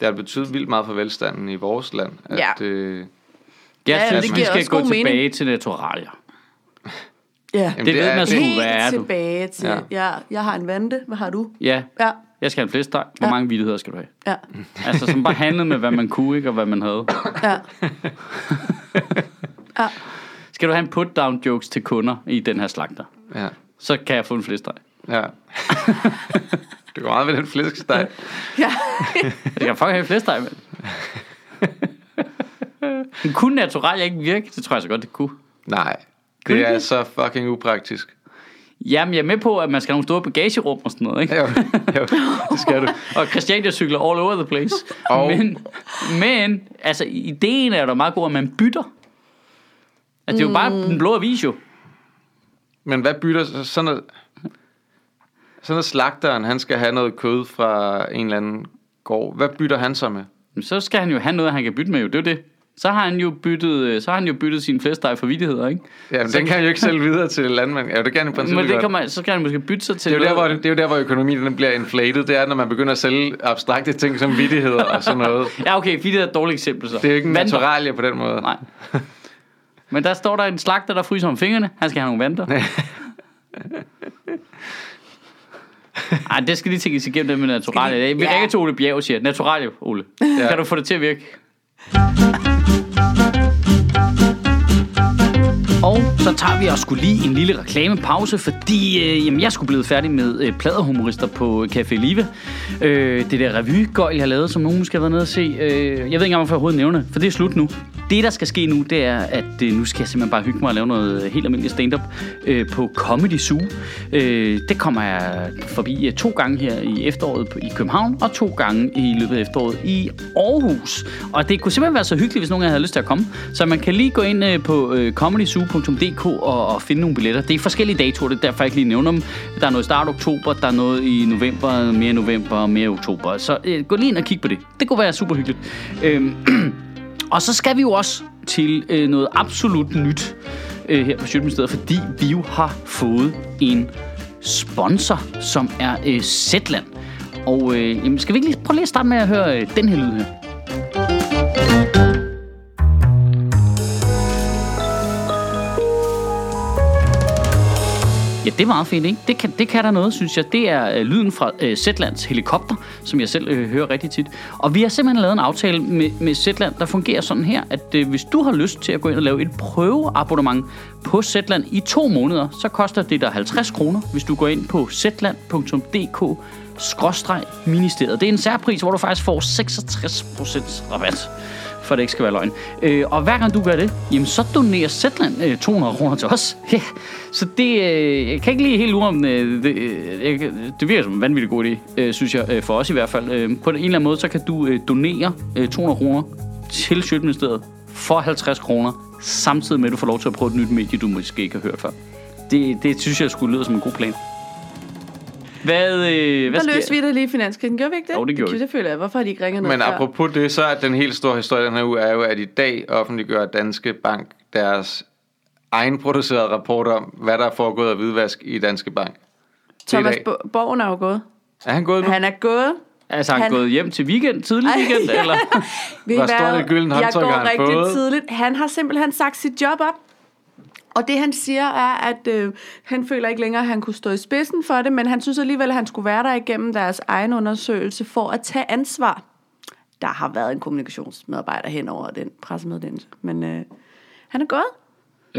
C: Det har betydet vildt meget for velstanden i vores land. At,
B: Ja.
C: øh,
A: Jeg
B: Ja,
A: ja,
B: det
A: synes, vi
B: giver
A: skal
B: også
A: gå
B: god mening.
A: tilbage til naturalier.
B: Ja,
C: Jamen,
A: Det,
C: det
A: ved
C: er-
A: man
C: det-
A: sgu, hvad er
B: helt
A: du?
B: tilbage til,
C: Ja.
B: ja. ja, jeg har en vante, hvad har du?
A: Ja,
B: Ja,
A: jeg skal have en flæskesteg. Hvor
B: Ja.
A: mange vittigheder skal du have?
B: ja,
A: Altså, som bare handlede med, hvad man kunne, ikke, og hvad man havde.
C: [LAUGHS]
B: ja.
A: Skal du have en put-down jokes til kunder i den her slagter?
C: ja,
A: Så kan jeg få en flæskesteg.
C: ja. [LAUGHS] det går meget ved den flæskesteg.
B: ja.
A: Jeg kan fucking have en flæskesteg, mand. Men kunne naturalier ikke virke? Det tror jeg så godt, det kunne.
C: Nej,
A: Kunne
C: det er
A: det?
C: så fucking upraktisk.
A: Jamen, jeg er med på, at man skal have nogle store bagagerum og sådan noget, ikke?
C: Jo, jo,
B: [LAUGHS]
C: det skal du.
A: Og Christiania cykler all over the place.
C: Og-
A: Oh. Men, men, altså, ideen er jo da meget god, at man bytter. At det er jo bare den blå avis, jo.
C: Men hvad bytter så- sådan at, sådan at slagteren, han skal have noget kød fra en eller anden gård. Hvad bytter han så med?
A: Jamen, Så skal han jo have noget, han kan bytte med, jo. Det er jo det. Så har han jo byttet, øh, så har han jo byttet sin flæskesteg for vidtigheder, ikke?
C: Ja, men den kan han jo ikke sælge videre til landmanden. Ja, det kan han i princippet
A: Men det
C: godt.
A: kan man, så skal han måske bytte sig til
C: det er, jo der,
A: noget.
C: hvor, det er jo der, hvor økonomien den bliver inflated. Det er, når man begynder at sælge abstrakte ting som vittigheder og sådan noget.
A: Ja, okay, vidtigheder er et dårligt eksempel, så.
C: Det er jo ikke en
A: Vandter.
C: naturalie på den måde.
A: Nej. [LAUGHS] Men der står der en slagter, der fryser om fingrene. Han skal have nogle vanter.
C: [LAUGHS]
A: Ej, det skal lige tænkes igennem det med naturalier. Vi
B: Ja.
A: ringer til Ole Bjerg og siger, naturalier, Ole.
C: Ja.
A: Ja. Kan du få det til at virke? Og så tager vi også skulle lige en lille reklamepause, fordi øh, jamen, jeg skulle blive færdig med øh, pladerhumorister på Café Live. Øh, det der revygøjl, jeg har lavet, som nogen måske har været nede og se. Øh, jeg ved ikke engang, hvorfor jeg overhovedet nævner det, for det er slut nu. Det, der skal ske nu, det er, at øh, nu skal jeg simpelthen bare hygge mig og lave noget helt almindeligt stand-up øh, på Comedy Zoo. Øh, det kommer jeg forbi øh, to gange her i efteråret på- i København, og to gange i løbet af efteråret i Aarhus. Og det kunne simpelthen være så hyggeligt, hvis nogen af jer havde lyst til at komme. Så man kan lige gå ind øh, på øh, comedyzoo.dk og, og finde nogle billetter. Det er forskellige datoer, det er derfor jeg ikke lige nævner dem. Der er noget i start oktober, der er noget i november, mere november og mere oktober. Så øh, gå lige ind og kig på det. Det kunne være super hyggeligt. Øhm, og så skal vi jo også til øh, noget absolut nyt øh, her på Sjøtministeriet, fordi vi jo har fået en sponsor, som er øh, Zetland. Og øh, jamen, skal vi ikke lige prøve lige at starte med at høre øh, den her lyd her? Ja, Det er meget fint, ikke? Det kan, det kan der noget, synes jeg. Det er øh, lyden fra øh, Zetlands helikopter, som jeg selv øh, hører rigtig tit. Og vi har simpelthen lavet en aftale med, med Zetland, der fungerer sådan her, at øh, hvis du har lyst til at gå ind og lave et prøveabonnement på Zetland i to måneder, så koster det dig 50 kroner, hvis du går ind på zetland.dk skråstreg ministeriet. Det er en særpris, hvor du faktisk får 66% rabat for at det ikke skal være løgn. Øh, og hver gang du gør det, jamen så donerer Zetland øh, 200 kroner til os. [LAUGHS] Ja. Så det, øh, jeg kan ikke lige helt lure om, øh, det, øh, jeg kan- det virker som en vanvittig god idé, øh, synes jeg, øh, for os i hvert fald. Øh, på en eller anden måde, så kan du øh, donere øh, 200 kroner til Sjøtministeriet for 50 kroner, samtidig med at du får lov til at prøve et nyt medie, du måske ikke har hørt før. Det, det synes jeg skulle lyde som en god plan. Hvad, øh, hvad
B: Der
A: sker?
B: løste vi det lige i finanskrisen. Gjorde vi ikke det?
A: Jo, det gjorde vi.
B: Det føler jeg. Hvorfor har de ikke ringet noget
C: Men
B: før?
C: apropos det, så er den helt store historie den her uge, er jo, at i dag offentliggør Danske Bank deres egenproducerede rapport om, hvad der er foregået af hvidvask i Danske Bank.
B: Thomas
C: i dag.
B: Bo- Borgen er jo gået.
C: Er han gået nu?
B: Han er gået.
A: Altså, han, han
B: Han-
A: gået hjem til weekend, tidlig
B: Ej, [LAUGHS]
A: weekend,
B: ja.
A: eller?
B: Ved I
C: Hvor
B: hvad?
C: stort et gyldent
B: Jeg
C: håndtryk
B: går
C: har han
B: rigtig
C: fået?
B: tidligt. Han har simpelthen sagt sit job op. Og det han siger er, at øh, han føler ikke længere, at han kunne stå i spidsen for det, men han synes alligevel, at han skulle være der igennem deres egen undersøgelse for at tage ansvar. Der har været en kommunikationsmedarbejder hen over den pressemeddelelse, men øh, han er gået.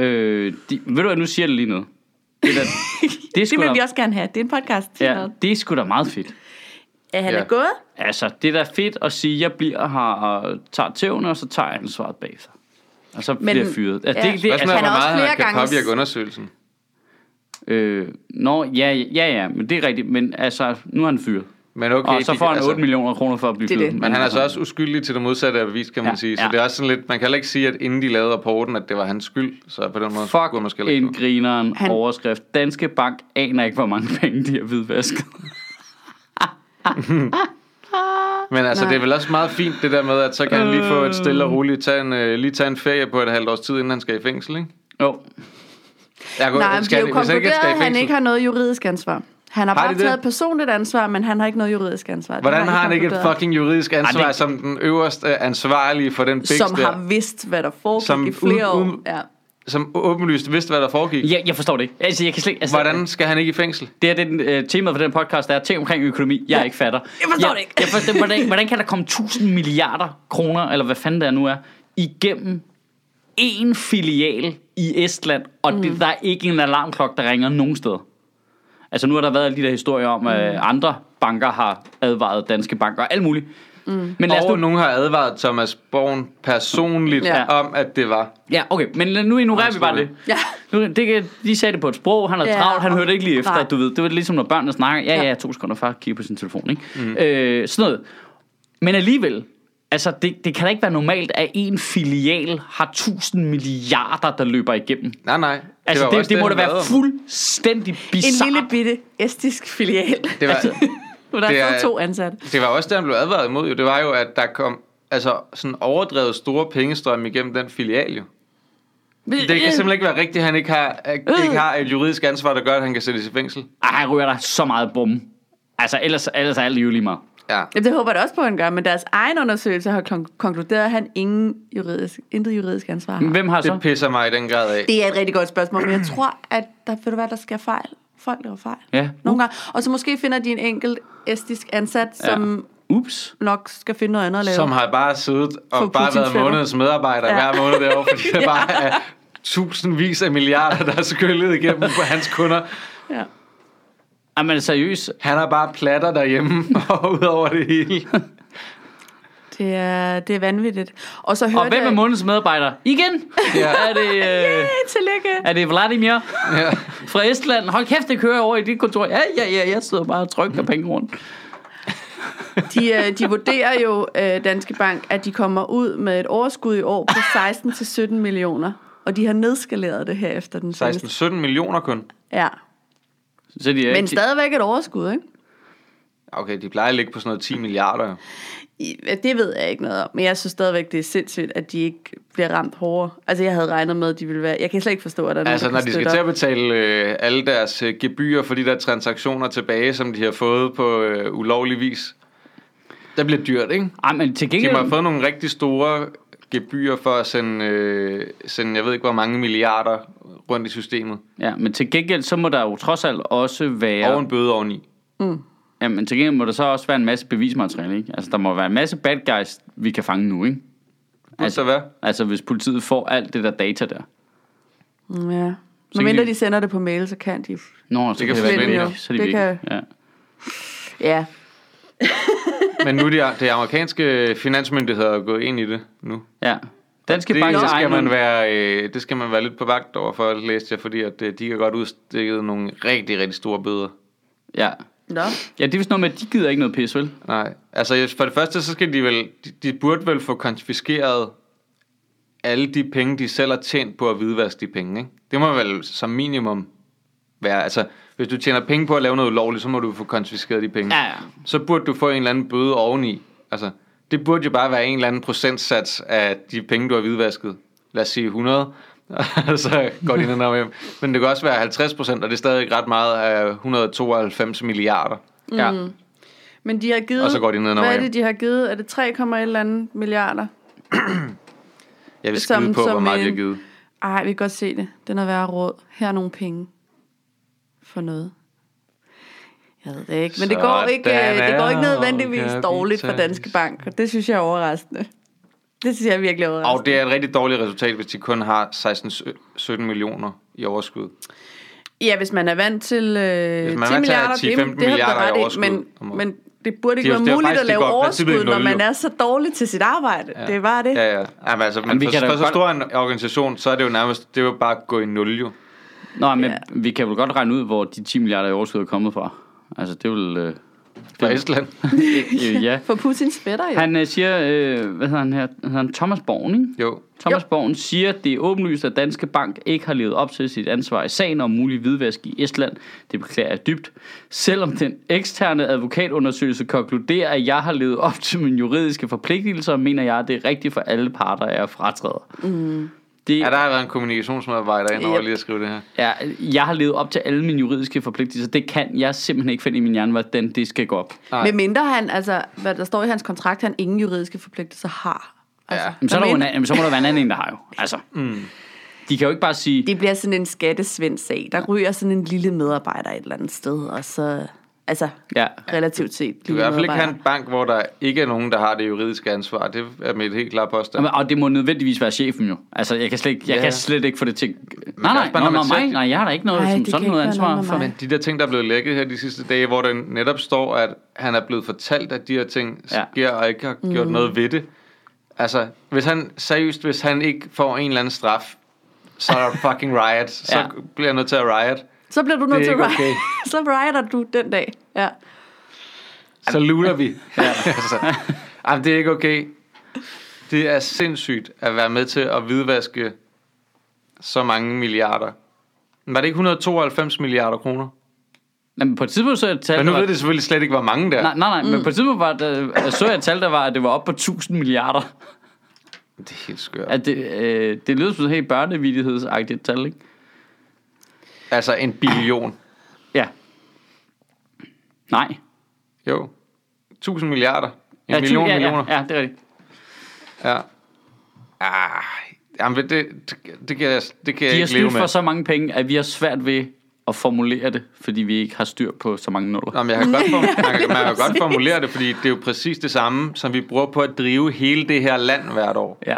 A: Øh, de, ved du hvad, nu siger jeg det lige noget. Det,
B: [LAUGHS]
A: der, det, er
B: Det
A: sgu
B: vil
A: da,
B: vi også gerne have. Det er en podcast. Sig
A: ja,
B: noget.
A: det er sgu da meget fedt.
B: At han
C: Ja.
B: er gået.
A: Altså, det er da fedt at sige, at jeg bliver her og tager tævne, og så tager jeg ansvaret bagefter. Og så bliver jeg fyret. Altså,
B: ja.
A: det, det,
C: Spørgsmålet
A: altså,
C: er,
B: Han
C: hvor
B: har også
C: meget
B: flere
C: han kan
B: gange-
C: påvirke undersøgelsen.
A: øh, nå, ja, ja, ja, men det er rigtigt. Men altså, nu er han fyret.
C: Men okay,
A: og så
C: de-
A: får han 8
C: altså-
A: millioner kroner for at blive
B: Det er
A: fyret.
B: det.
C: Men han er så også uskyldig til det modsatte af bevis, kan man
A: Ja,
C: ja, sige. Så
A: ja.
C: ja. det er også sådan lidt, man kan heller ikke sige, at inden de lavede rapporten, at det var hans skyld. Så på den måde
A: Fuck
C: kunne man måske
A: en
C: ikke
A: grineren han...
B: Han-
A: overskrift. Danske Bank aner ikke, hvor mange penge de har hvidvasket.
C: Men altså,
B: Nej.
C: det er vel også meget fint det der med, at så kan han lige få et stille og roligt, tage en, øh, lige tage en ferie på et halvt års tid, inden han skal i fængsel, ikke?
A: Jo,
B: Nej,
C: Jeg
B: men det er jo konkluderet, at han ikke har noget juridisk ansvar. Han har,
C: Har
B: bare
C: de det?
B: taget et personligt ansvar, men han har ikke noget juridisk ansvar. Det
C: Hvordan
B: de
C: har han ikke et
B: konkluderet.
C: fucking juridisk ansvar,
A: Ej,
C: Ej,
A: det-
C: det... som den øverste ansvarlige for den biks
B: som
C: der,
B: har vidst, hvad der foregik
C: Som
B: som i flere
C: uden-
B: år.
C: uden-
B: Ja.
C: som åbenlyst vidste, hvad der foregik? Ja.
A: jeg, jeg forstår det ikke. Altså, jeg kan slet, altså,
C: Hvordan skal han ikke i fængsel?
A: Det her det er den, øh, temaet for den podcast, der er ting omkring økonomi, jeg ja. ikke fatter.
B: Jeg forstår det ikke.
A: Jeg forstår, hvordan, hvordan kan der komme 1000 milliarder kroner, eller hvad fanden det er nu er, igennem en filial i Estland, og mm. det, der er ikke en alarmklok, der ringer nogen steder. Altså nu har der været alle de der historier om, at øh, andre banker har advaret danske banker og alt muligt. Mm. Men lad os
C: Og
A: nu,
C: nogen har advaret Thomas Born personligt
B: Ja.
C: ja. om, at det var.
A: ja, okay, men lad- nu ignorerer vi bare det.
B: Ja.
A: Nu, det, kan- de sagde det på et sprog, han havde
B: Ja,
A: travlt, han
B: og-
A: hørte ikke lige efter,
B: nej.
A: du ved. Det var ligesom, når børnene snakker, ja,
B: Ja.
A: ja, to sekunder før, kigge på sin telefon, ikke?
C: Mhm.
A: Mm. Øh, sådan noget. Men alligevel, altså, det, det kan da ikke være normalt, at en filial har 1000 milliarder, der løber igennem.
C: Nej, nej.
A: Altså,
C: var
A: det, det,
C: jo også
A: det, må da
C: han
A: være
C: lavede.
A: fuldstændig
B: En
A: bizarrt.
B: lille bitte estisk filial.
C: Det
B: [LAUGHS]
C: var,
A: Altså-
B: Hvor der
C: Det
B: er
C: er-
B: fået to ansatte.
C: [LAUGHS] Det var også det, han blev advaret imod jo. Det var jo, at der kom altså, sådan overdrevet store pengestrømme igennem den filial jo. Det kan simpelthen ikke være rigtigt, at han ikke har,
A: Øh.
C: ikke har et juridisk ansvar, der gør, at han kan sættes i fængsel.
A: Ej, han ryger der så meget bum. Altså, ellers, ellers er alt jo lige meget.
C: Ja.
B: Jamen, det håber jeg da også på, at han gør, men deres egen undersøgelse har kon- konkluderet, at han ingen juridisk, intet juridisk ansvar
C: Mm.
B: har.
A: Hvem har så?
C: Det pisser mig i den grad af.
B: Det er et rigtig godt spørgsmål, men jeg tror, at der, ved du hvad, der sker fejl. Folk laver fejl.
A: Ja.
B: Nogle gange. Og så måske finder de en enkelt estisk ansat, som
A: Ups.
B: nok skal finde noget andet at lave.
C: Som har bare siddet og
B: Få
C: bare
B: Putin
C: været
B: fælder.
C: månedens medarbejder
B: Ja.
C: ja. hver måned derovre,
A: [LAUGHS]
C: fordi der bare er tusindvis af milliarder, der er skyllet igennem på hans kunder.
B: Ja.
A: Jamen, seriøst.
C: Han har bare platter derhjemme [LAUGHS] og ud over det hele.
B: Det er, det er vanvittigt. Og så hørte
A: Og hvem er
B: jeg-
A: månedens medarbejder? Igen?
C: Ja.
A: Er det... Øh...
B: Hey, tillykke.
A: Er det Vladimir
C: [LAUGHS] Ja.
A: fra Estland? Hold kæft, det kører over i dit kontor. Ja, ja, ja, jeg sidder bare og
C: Mm.
A: trykker penge rundt.
B: De, øh, de vurderer jo øh, Danske Bank, at de kommer ud med et overskud i år på 16-17 millioner. Og de har nedskaleret det her efter den seneste.
C: 16-17 millioner kun.
B: Ja.
A: Så de er
B: Men
A: ikke-
B: stadigvæk et overskud, ikke?
C: Okay, de plejer at ligge på sådan noget 10 milliarder. jo.
B: I- ja, Det ved jeg ikke noget om, men jeg synes stadigvæk, det er sindssygt, at de ikke bliver ramt hårdere. Altså, jeg havde regnet med, at de ville være... Jeg kan slet ikke forstå, at der er nogen,
C: Altså,
B: der
C: når
B: kan
C: de skal
B: støtte
C: til at
B: op.
C: betale øh, alle deres øh, gebyrer for de der transaktioner tilbage, som de har fået på øh, ulovlig vis, der bliver dyrt, ikke?
A: Ej, men til
C: De
A: gengæld...
C: må have fået nogle rigtig store gebyr for at sende, øh, sende, jeg ved ikke hvor mange milliarder rundt i systemet.
A: Ja, men til gengæld, så må der jo trods alt også være...
C: Ja. Og en bøde oveni.
A: Ja, men til gengæld må der så også være en masse bevismateriale, ikke? Altså, der må være en masse bad guys, vi kan fange nu, ikke?
C: Altså, hvad?
A: Altså, hvis politiet får alt det der data der.
B: Mm, Ja.
A: kan
B: Når mindre
A: de-
B: de sender det på mail, så kan de.
A: Nå, så
C: Det kan
A: det være
C: forsvinde,
A: væk.
B: jo.
A: Så er de
B: Det
A: væk.
B: kan-
A: Ja.
B: Ja.
C: Men nu er de, de amerikanske finansmyndigheder er gået ind i det nu.
A: ja. Danske
C: Det,
A: Bank
C: det,
A: ejer
C: skal man
A: nogle-
C: være, øh, det skal man være lidt på vagt over for, læste jeg, fordi at, øh, de kan godt udstikke nogle rigtig, rigtig store bøder.
A: Ja.
B: Nå.
A: ja, det er vist noget med, at de gider ikke noget pis, vel?
B: Mm.
C: Nej, altså jeg- for det første, så skal de vel, de, de burde vel få konfiskeret alle de penge, de selv har tjent på at hvidvaske de penge, ikke? Det må vel som minimum være, altså hvis du tjener penge på at lave noget ulovligt, så må du få konfiskeret de penge.
A: Ja, ja.
C: Så burde du få en eller anden bøde oveni, altså det burde jo bare være en eller anden procentsats af de penge, du har hvidvasket. Lad os sige 100, [LAUGHS] og så går de ned og hjem. Men det kan også være 50 procent, og det er stadig ret meget af 192 milliarder.
A: Ja.
B: Men de har givet...
C: Og så går de ned og
B: Hvad er
C: hjem.
B: det, de har givet? Er det 3, et eller andet milliarder?
C: Jeg vil
B: Som-
C: skide på,
B: som
C: hvor meget de
B: en-
C: har givet.
B: Ej, vi kan godt se det. Den er værre råd. Her er nogle penge. For noget. Jeg ved det ikke. Men det går
C: Sådan
B: ikke, øh, det går ikke
C: er
B: nødvendigvis
C: Rådkapital.
B: dårligt for Danske Bank. Og det synes jeg er overraskende. Det synes jeg er virkelig
C: Og
B: overraskende.
C: det er et rigtig dårligt resultat, hvis de kun har 16-17 millioner i overskud.
B: Ja, hvis man er vant til øh, 10
C: man er vant til at
B: milliarder,
C: have 10-15
B: det, det har du da
C: milliarder i
B: ret i,
C: overskud
B: men,
C: om året.
B: men det burde ikke
C: Det er jo-
B: være
C: det er
B: princippet,
C: jo faktisk-
B: at lave
C: det går- princippet
B: overskud,
C: går
B: når
C: ud,
B: man
C: jo.
B: er så dårlig til sit arbejde. Ja. Det var det. Ja.
C: Ja, ja. Jamen, altså, men
A: Jamen, vi
C: for,
A: kan da
C: for så
A: godt-
C: stor en organisation, så er det jo nærmest, det er jo bare at gå i nul jo.
A: Nå, men
B: Ja.
A: vi kan vel godt regne ud, hvor de 10 milliarder i overskud er kommet fra. Altså, det er vel... Øh,
C: Fra Estland. [LAUGHS]
A: det, øh, ja.
B: For Putins fætter, jo.
A: Han øh, siger, øh, hvad hedder han her? Han hedder Thomas Born, ikke?
C: Jo.
A: Thomas Borgen siger, at det er åbenlyst, at Danske Bank ikke har levet op til sit ansvar i sagen om mulig hvidvask i Estland. Det beklager jeg dybt. Selvom den eksterne advokatundersøgelse konkluderer, at jeg har levet op til mine juridiske forpligtelser, mener jeg, at det er rigtigt for alle parter, at jeg fratræder. Mm. Det,
C: Ja, der har været en kommunikationsmedarbejder ind over
B: Yep.
C: lige at skrive det her.
A: ja, jeg har levet op til alle mine juridiske forpligtelser. Det kan jeg simpelthen ikke finde i min hjerne, hvordan det skal gå op.
C: Nej.
B: Med mindre han, altså, hvad der står i hans kontrakt, han ingen juridiske forpligtelser har. Altså,
C: Ja.
A: Jamen, så, er der jo en,
B: men-
A: anden- jamen, så må der være en anden, en, der
C: [LAUGHS]
A: har jo. Altså, mm. De kan jo ikke bare sige,
B: Det bliver sådan en skattesvendt sag. Der ryger sådan en lille medarbejder et eller andet sted, og så... Altså,
A: Ja.
B: relativt set.
C: Du kan i hvert fald ikke have en bank, hvor der ikke er nogen, der har det juridiske ansvar. Det er mit helt klare påstand.
A: Jamen, og det må nødvendigvis være chefen jo. Altså, jeg kan slet ikke, jeg
C: Ja.
A: kan slet ikke få det til... Nej, nej,
C: også bare,
A: nej,
C: når
A: nej,
C: man
A: nej,
C: selv-
A: nej, jeg har da ikke noget,
B: Nej,
A: som
B: det
A: sådan
B: kan
A: noget
B: ikke være noget
A: ansvar
B: med
A: for.
B: mig.
A: Men,
C: Men de der ting, der er blevet lækket her de sidste dage, hvor det netop står, at han er blevet fortalt, at de her ting
A: Ja.
C: sker, og ikke har gjort mm. noget ved det. Altså, hvis han, seriøst, hvis han ikke får en eller anden straf, så er der fucking
A: [LAUGHS]
C: riot. Så
A: Ja.
C: bliver jeg nødt til at riot.
B: Så bliver du
C: er
B: nødt til at
C: ikke
B: riot.
C: okay.
B: [LAUGHS] så rioter du den dag. Ja.
C: Så lutter vi. [LAUGHS] altså, jamen, det er ikke okay. Det er sindssygt at være med til at hvidvaske så mange milliarder. Var det ikke 192 milliarder kroner?
A: Jamen, på et tidspunkt så jeg et tal,
C: Men nu
A: der var-
C: ved det selvfølgelig slet ikke, hvor mange der er.
A: Nej, nej, nej,
B: Mm.
A: men på et tidspunkt var det, jeg så jeg et tal, der var, at det var op på 1000 milliarder.
C: Det er helt skørt.
A: At det, øh, det lyder som et helt børnevidighedsagtigt tal, ikke?
C: Altså en billion.
A: Ja. Nej.
C: Jo. 1000 milliarder. En
A: ja,
C: ja,
A: tu-
C: million
A: ja,
C: millioner.
A: Ja, ja, det er rigtigt.
C: Ja. ja. Ah, jamen det, det, det kan jeg, det kan jeg
A: De har
C: ikke leve
A: snydt
C: med.
A: for så mange penge, at vi har svært ved at formulere det, fordi vi ikke har styr på så mange nuller.
C: Nå, men jeg kan godt form-
A: [LAUGHS]
C: man, kan, man kan godt formulere det, fordi det er jo præcis det samme, som vi bruger på at drive hele det her land hvert år.
A: Ja.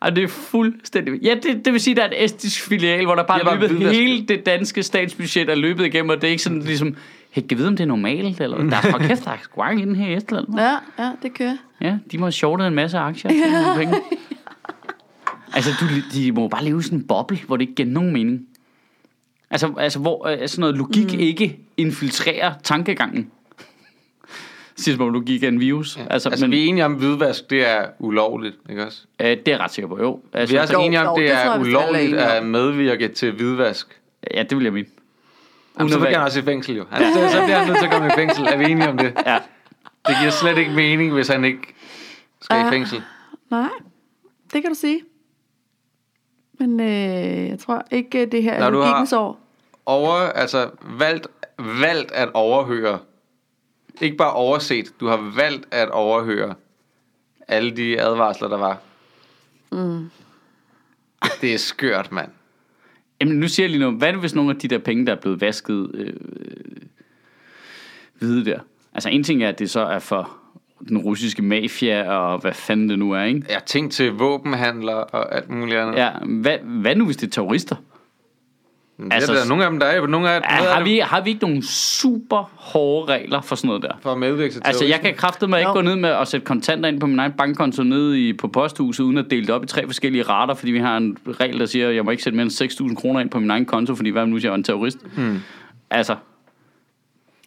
A: Og det er fuldstændig... Ja, det, det vil sige, at der er et estisk filial, hvor der bare
C: Det er
A: er
C: bare
A: løbet
C: hvidvask.
A: hele det danske statsbudget er løbet igennem, og det er ikke sådan ligesom... Hey, kan jeg vide, om det er normalt, eller der er for kæft, der er sgu gang i den her i Estland. mand."
B: ja, ja, det kører.
A: Ja, de må have shortet en masse aktier. Ja. Penge. Altså, du, de må jo bare leve i sådan en boble, hvor det ikke giver nogen mening. Altså, altså hvor øh, sådan noget logik mm. ikke infiltrerer tankegangen. Sidst om logik er en virus. Ja.
C: Altså, altså men... vi er enige om, at hvidvask det er ulovligt, ikke også?
A: Øh, det er jeg ret sikker på, jo. Altså,
C: Vi er også
B: Jo,
C: enige om,
B: jo,
C: det
B: det tror
C: er
B: jeg, vi alle er
C: ulovligt
B: enige om.
C: at medvirke til hvidvask.
A: Ja, det vil jeg mene.
C: Jamen, så
A: Unødvendigt.
C: bliver han også i fængsel jo.
A: [LAUGHS]
C: Han, så, så bliver han nødt til at komme i fængsel. Er vi enige om det?
A: Ja.
C: Det giver slet ikke mening, hvis han ikke skal i
B: Ah.
C: fængsel.
B: Nej, det kan du sige. Men øh, jeg tror ikke, det her
C: Når
B: er
C: du
B: logikkens
C: har-
B: år.
C: over, altså valgt, valgt at overhøre. Ikke bare overset, du har valgt at overhøre alle de advarsler, der var. Mm. Det er skørt, mand.
A: Jamen, nu siger jeg lige noget. Hvad er det, hvis nogle af de der penge, der er blevet vasket øh, hvide der? Altså, en ting er, at det så er for den russiske mafia, og hvad fanden det nu er, ikke?
C: Jeg har tænkt til våbenhandler og alt muligt andet.
A: Ja, hvad, hvad nu, hvis det er terrorister?
C: Men det
A: altså-
C: altså, er der nogle af dem, der er jo nogle af dem,
A: Ja, har, vi, har vi ikke nogle super hårde regler for sådan noget der?
C: for at medvirke til
A: Altså, jeg
C: terrorisme.
A: kan kraftedeme mig ikke
B: Jo.
A: gå ned med at sætte kontanter ind på min egen bankkonto nede i, på posthuset, uden at dele det op i tre forskellige rater, fordi vi har en regel, der siger, at jeg må ikke sætte mere end 6.000 kroner ind på min egen konto, fordi hvad nu, hvis jeg er en terrorist? Hmm. Altså,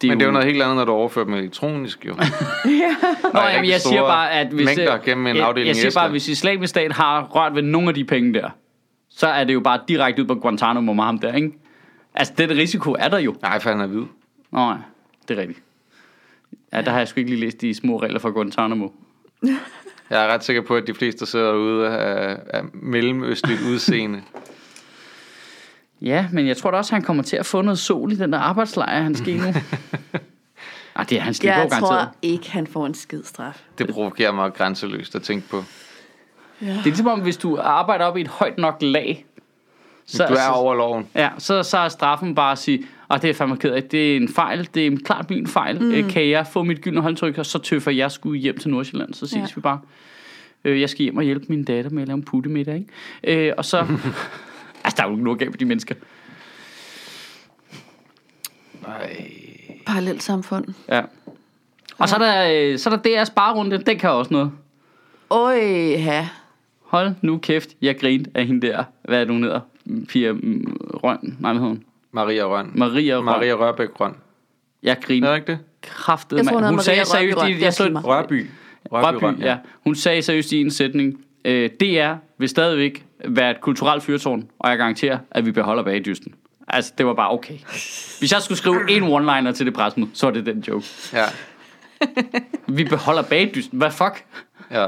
A: det
C: Men det er jo noget helt andet, når du overfører dem elektronisk,
A: [LAUGHS]
C: jo.
A: Nå,
C: der er
A: jamen,
C: rigtig
A: jeg siger
C: store
A: bare, at hvis,
C: mængder
A: øh,
C: gennem en
A: jeg,
C: afdeling
A: jeg
C: i
A: siger bare,
C: Estland.
A: at hvis islamisk stat har rørt ved nogle af de penge der, så er det jo bare direkte ud på Guantanamo med ham der, ikke? Altså, den risiko er der jo.
C: Nej, for han er hvid.
A: Nå, ja, det er rigtigt. Ja, der har jeg sgu ikke lige læst de små regler for Guantanamo.
C: Jeg er ret sikker på, at de fleste, der sidder derude, er, er mellemøstligt udseende.
A: Ja, men jeg tror da også, han kommer til at få noget sol i den der arbejdslejr, han [LAUGHS] skal i nu. Ej, det er han slipper jo
B: Jeg
A: garanteret.
B: tror ikke, han får en skid straf.
C: Det provokerer mig grænseløst at tænke på.
A: Det er ligesom om, hvis du arbejder op i et højt nok lag, så,
C: Du er
A: så,
C: over loven.
A: ja, så, så er straffen bare at sige, og det er jeg fandme ked af, det er en fejl, det er en klart min fejl. Mm. Kan jeg få mit gyldne håndtryk, og så tøffer jeg skulle hjem til Nordsjælland, så ses ja.
B: Ja.
A: vi bare. Øh, jeg skal hjem og hjælpe min datter med at lave en puttemiddag, ikke? Øh, og så... [LAUGHS] altså, der er jo ikke noget galt med de mennesker.
C: Nej.
B: Parallelt samfund.
A: Ja. Og så er der, øh, så er der DR's barrunde, den kan også noget.
B: Øj, ja.
A: Hold nu kæft, jeg grinte af hende der. Hvad er det, hun hedder? Pia mm, Røn? Nej, hvad hedder hun?
C: Maria Røn.
A: Maria Røn. Maria.
C: Maria Rørbæk Røn.
A: Jeg
C: Er
A: grinte
C: det ikke det?
A: kraftet,
B: Jeg tror,
A: hun,
B: hun hedder Maria
A: sagde
B: Rørbye
A: seriøst,
B: Røn.
A: i-
B: Det er
A: jeg så
B: også lige
A: et
B: meget.
C: Rørby.
A: Rørbye,
C: Røn,
A: ja. Hun sagde seriøst i en sætning, øh, DR vil stadigvæk være et kulturelt fyrtårn, og jeg garanterer, at vi beholder bagdysten. Altså, det var bare okay. Hvis jeg skulle skrive en one-liner til det presmøde, så er det den joke.
C: Ja,
A: Vi beholder bagdysten. Hvad fuck?
C: ja.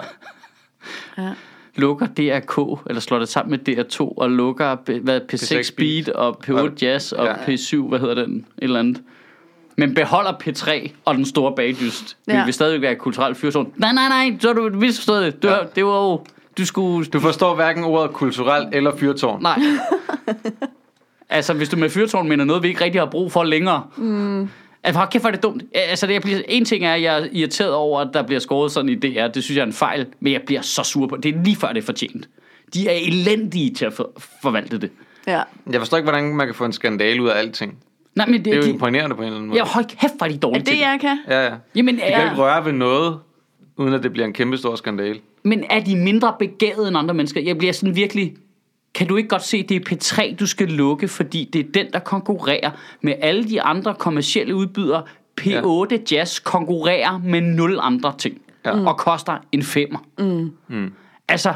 A: lukker DRK, eller slår det sammen med DR2, og lukker B- hvad, P6, P6
C: P6
A: Beat, og P8 Jazz, og
C: Ja.
A: P7, hvad hedder den, et eller andet. Men beholder P3 og den store bagdyst. Ja.
B: Ja.
A: Vi vil stadigvæk være kulturelt fyrsårn. Nej, nej, nej, så har du misforstået det. Du, ja. Det var jo... Du skulle...
C: Du forstår hverken ordet kulturelt eller fyrtårn.
A: Nej. [LAUGHS] altså, hvis du med fyrtårn mener noget, vi ikke rigtig har brug for længere. Mm. Altså, hold kæft, hvor er det dumt. Altså, det, jeg bliver, en ting er, at jeg er irriteret over, at der bliver skåret sådan i DR. Det synes jeg er en fejl, men jeg bliver så sur på det. Det er lige før, det er fortjent. De er elendige til at for, forvalte det.
B: Ja.
C: Jeg forstår ikke, hvordan man kan få en skandale ud af alting.
A: Nej, men det,
C: Det er jo
A: de,
C: imponerende på en eller anden måde.
A: jeg, hold kæft, hvor er de
B: Er
A: dårlige til
B: det, jeg kan?
C: Ja, ja.
A: Jamen,
C: Du kan
A: er,
C: ikke røre ved noget, uden at det bliver en kæmpe stor skandale.
A: men er de mindre begavede end andre mennesker? Jeg bliver sådan virkelig... Kan du ikke godt se, det er P3, du skal lukke, fordi det er den, der konkurrerer med alle de andre kommercielle udbydere. P8 ja. Jazz konkurrerer med nul andre ting. Ja.
C: Ja. Mm.
A: Og koster en femmer. Mm. Mm. Altså,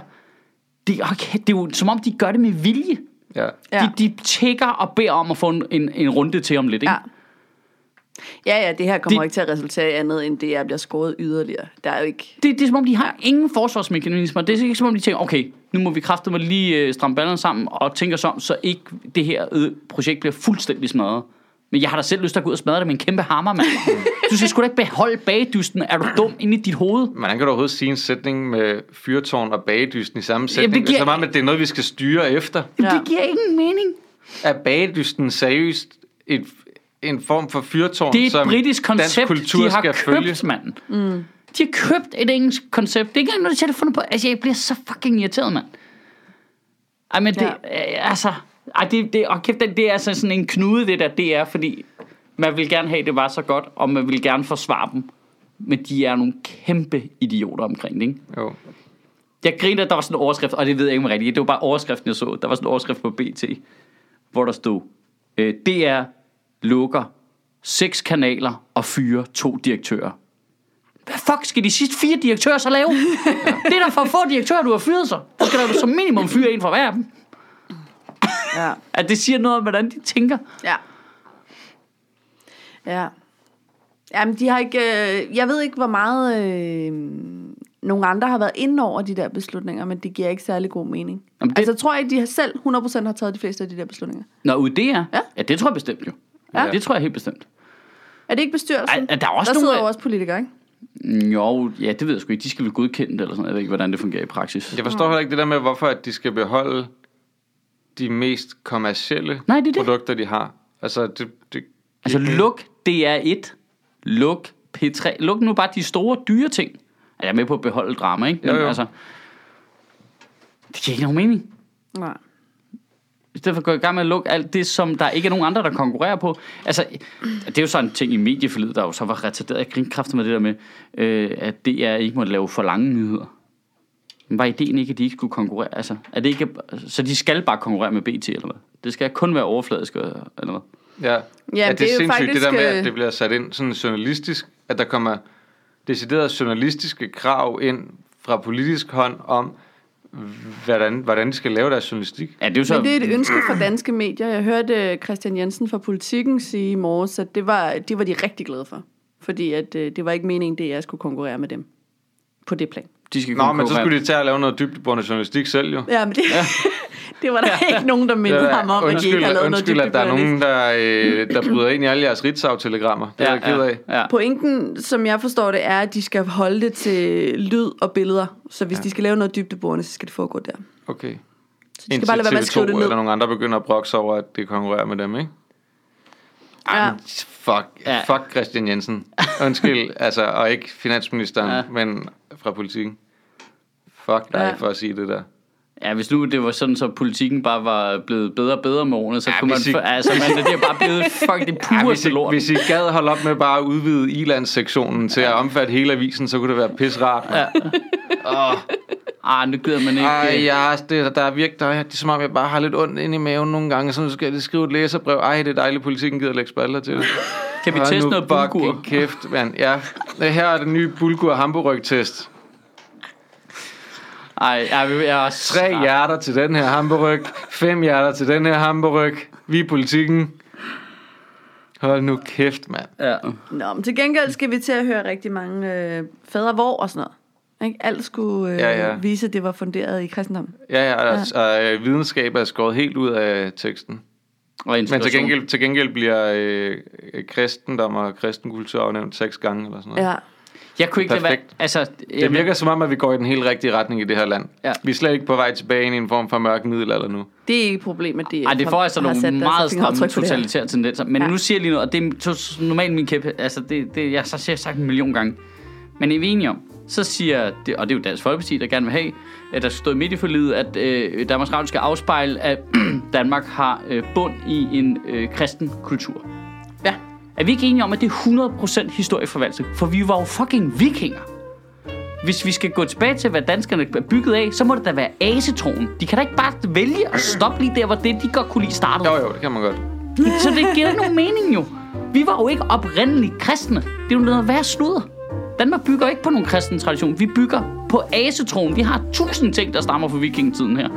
A: det, okay, det er jo som om, de gør det med vilje.
C: Ja.
A: Ja.
B: Ja.
A: De, de tækker og beder om at få en, en, en runde til om lidt. Ikke?
B: Ja. Ja, ja, det her kommer
A: De-
B: de... ikke til at resultere i andet, end det, jeg bliver skåret yderligere. Der er jo ikke...
A: det, det er som om, de har ingen forsvarsmekanismer. Det er ikke som om, de tænker, okay, nu må vi kraftedeme lige øh, stramme ballerne sammen og tænke os om, så ikke det her øh, projekt bliver fuldstændig smadret. Men jeg har da selv lyst til at gå ud og smadre det med en kæmpe hammer, [LAUGHS] mand. Du skal sgu da ikke beholde bagdysten. Er du dum inde i dit hoved?
C: Men hvordan kan du overhovedet sige en sætning med fyrtårn og bagedysten i samme sætning?
A: det
C: Jamen,
A: giver-
C: det Så meget med, at det er noget, vi skal styre efter.
A: Ja.
B: Ja.
A: Det giver ingen mening.
C: Er bagedysten seriøst et, en form for fyrtårn,
A: Det er et
C: som
A: britisk
C: dansk
A: koncept,
C: kultur
A: de har
C: skal
A: købt,
C: følge?
A: mand. Mm. De har købt et engelsk koncept. Det er ikke engang noget, de selv har fundet på. Altså, jeg bliver så fucking irriteret, mand. Ej, men det, ja. altså... Ej, det, det, og kæft, det, det er altså sådan en knude, det der, det er, fordi man vil gerne have, at det var så godt, og man vil gerne forsvare dem. Men de er nogle kæmpe idioter omkring det, ikke?
C: Jo.
A: Jeg griner, at der var sådan en overskrift, og det ved jeg ikke om er rigtigt. Det var bare overskriften, jeg så. Der var sådan en overskrift på BT, hvor der stod, øh, DR lukker seks kanaler og fyrer to direktører. Hvad fuck skal de sidste fire direktører så
B: [LAUGHS]
A: lave? Det er da for få direktører, du har fyret så. Du skal da som minimum fyre en fra hver af dem.
B: Ja.
A: At det siger noget om, hvordan de tænker.
B: Ja. Ja. Jamen, de har ikke... Øh, jeg ved ikke, hvor meget øh, nogle andre har været inde over de der beslutninger, men det giver ikke særlig god mening.
A: Jamen,
B: Jamen,
A: det-
B: det... Altså, jeg tror jeg, de har selv 100% har taget de fleste af de der beslutninger.
A: Nå, ud det er.
B: Ja.
A: ja, det tror jeg bestemt jo. Ja.
B: Ja.
A: Det tror jeg helt bestemt.
B: Er det ikke bestyrelsen?
A: Ej, er der også
B: der
A: nogle
B: sidder
A: af-
B: jo også politikere, ikke?
A: Jo, ja, det ved jeg sgu ikke. De skal vel godkende det, eller sådan. Jeg ved ikke, hvordan det fungerer i praksis.
C: Jeg forstår heller ikke det der med, hvorfor at de skal beholde de mest kommercielle
A: Nej, det er det.
C: produkter, de har. Altså, det, det,
A: Altså
C: Øh,
A: luk DR1, luk P3, luk nu bare de store, dyre ting. Altså, Jeg er med på at beholde drama, ikke?
C: Jo, jo.
A: altså, det giver ikke nogen mening.
B: Nej.
A: I stedet for at gå i gang med at lukke alt det, som der ikke er nogen andre, der konkurrerer på. Altså, det er jo sådan en ting i medieforledet, der jo så var retarderet. Jeg grinte kraftigt med det der med, øh, at DR ikke måtte lave for lange nyheder. Men var ideen ikke, at de ikke skulle konkurrere? Altså, er det ikke, så de skal bare konkurrere med BT, eller hvad? Det skal kun være overfladisk, eller hvad?
C: Ja, ja, det, er
B: det er jo
C: sindssygt det der med,
B: faktisk, øh,
C: at det bliver sat ind sådan journalistisk, at der kommer deciderede journalistiske krav ind fra politisk hånd om, hvordan, hvordan de skal lave deres journalistik.
A: Ja, det er jo så...
B: Men det er et ønske fra danske medier. Jeg hørte øh, Christian Jensen fra Politiken sige i morges, at det var, det var de rigtig glade for. Fordi at, øh, det var ikke meningen, det jeg skulle konkurrere med dem på det plan.
A: de skal
C: Nå, men så
A: konkurrere.
C: skulle de tage og lave noget dybdeborende journalistik selv jo.
B: Ja, men det, ja. [LAUGHS] det var der ja. ikke nogen, der mindede
C: Det er da-
B: ham om, at de ikke har lavet
C: Øh, undskyld,
B: noget
C: at der er
B: dybdeborende.
C: nogen, der, øh,
B: [CLEARS THROAT]
C: der bryder ind i alle jeres Ritzau-telegrammer. Det er jeg ked af.
A: Ja, ja.
B: Pointen, som jeg forstår det, er, at de skal holde det til lyd og billeder. Så hvis ja. de skal lave noget dybdeborende, så skal det foregå der.
C: Okay.
B: Så de skal bare lade være med at skrive det ned.
C: eller nogen andre begynder at brokke sig over, at det konkurrerer med dem, ikke?
B: Ja.
C: Fuck,
A: Ja.
C: fuck Christian Jensen.
A: [LAUGHS]
C: Undskyld, altså, og ikke finansministeren,
A: Ja.
C: ja. men fra politikken. Fuck dig
B: Ja.
C: ja. for at sige det der.
A: ja, hvis nu det var sådan, så politikken bare var blevet bedre og bedre med årene, så
C: Ja,
A: kunne man...
C: hvis I-
A: få- Altså, man, det er bare blevet
C: [LAUGHS]
A: fucking det
C: Ja,
A: pureste
C: hvis, I,
A: lort.
C: hvis I gad holde op med bare at udvide ilandssektionen til at omfatte hele avisen, så kunne det være pisrart. Ja.
A: Ah, nu gider man ikke...
C: Ej,
A: øh,
C: ja, det, der er virkelig, der er, det er som om, jeg bare har lidt ondt inde i maven nogle gange, så nu skal jeg skrive et læserbrev. Ej, det er dejligt, politikken gider lægge spalter til det.
A: Kan [LAUGHS] vi
C: Hold
A: teste
C: nu
A: noget bulgur?
C: fucking kæft, mand. Ja, Øh, her er den nye bulgur hamburg-test.
A: Ej, jeg, jeg, jeg,
C: Tre
A: jeg,
C: hjerter til den her hamburg. Fem hjerter til den her hamburg. Vi er politikken. Hold nu kæft, mand.
A: ja.
B: Nå, men til gengæld skal vi til at høre rigtig mange øh, fader hvor og sådan noget. Ikke? Alt skulle øh,
C: Ja, ja.
B: vise, at det var funderet i kristendommen.
C: Ja, ja, og, og øh, videnskab er skåret helt ud af teksten.
A: Og
C: Men til
A: integration.
C: gengæld, til gengæld bliver øh, øh, kristendom og kristenkultur nævnt seks gange eller sådan noget.
B: Ja.
A: Jeg kunne ikke lade være...
C: Perfekt.
A: Altså,
C: Det
A: jamen,
C: virker som om, at vi går i den helt rigtige retning i det her land.
A: Ja.
C: Vi er slet ikke på vej tilbage ind i en form for mørk middelalder nu.
B: Det er ikke et problem, at det
A: Ej, det får altså nogle meget stramme
B: totalitet.
A: totalitære tendenser. Men
B: Ja.
A: ja. nu siger jeg lige noget, og det er to- normalt min kæppe. Altså, det, det, jeg har så siger sagt en million gange. Men er vi enige om? Så siger, det, og det er jo Dansk Folkeparti, der gerne vil have, at der stod midt i forlidet, at øh, Danmarks Radio skal afspejle, at [CLEARS THROAT] Danmark har øh, bund i en øh, kristen kultur.
B: Ja.
A: Er vi ikke enige om, at det er 100% historieforvaltning? For vi var jo fucking vikinger. Hvis vi skal gå tilbage til, hvad danskerne er bygget af, så må det da være asetroen. De kan da ikke bare vælge at stoppe lige der, hvor det, de godt kunne lide, startede.
C: Jo, jo, det kan man godt.
A: Så det giver ikke nogen mening jo. Vi var jo ikke oprindeligt kristne. Det er jo noget værre sludder. Danmark bygger ikke på nogen kristen tradition. Vi bygger på asetroen. Vi har tusind ting, der stammer fra vikingetiden her.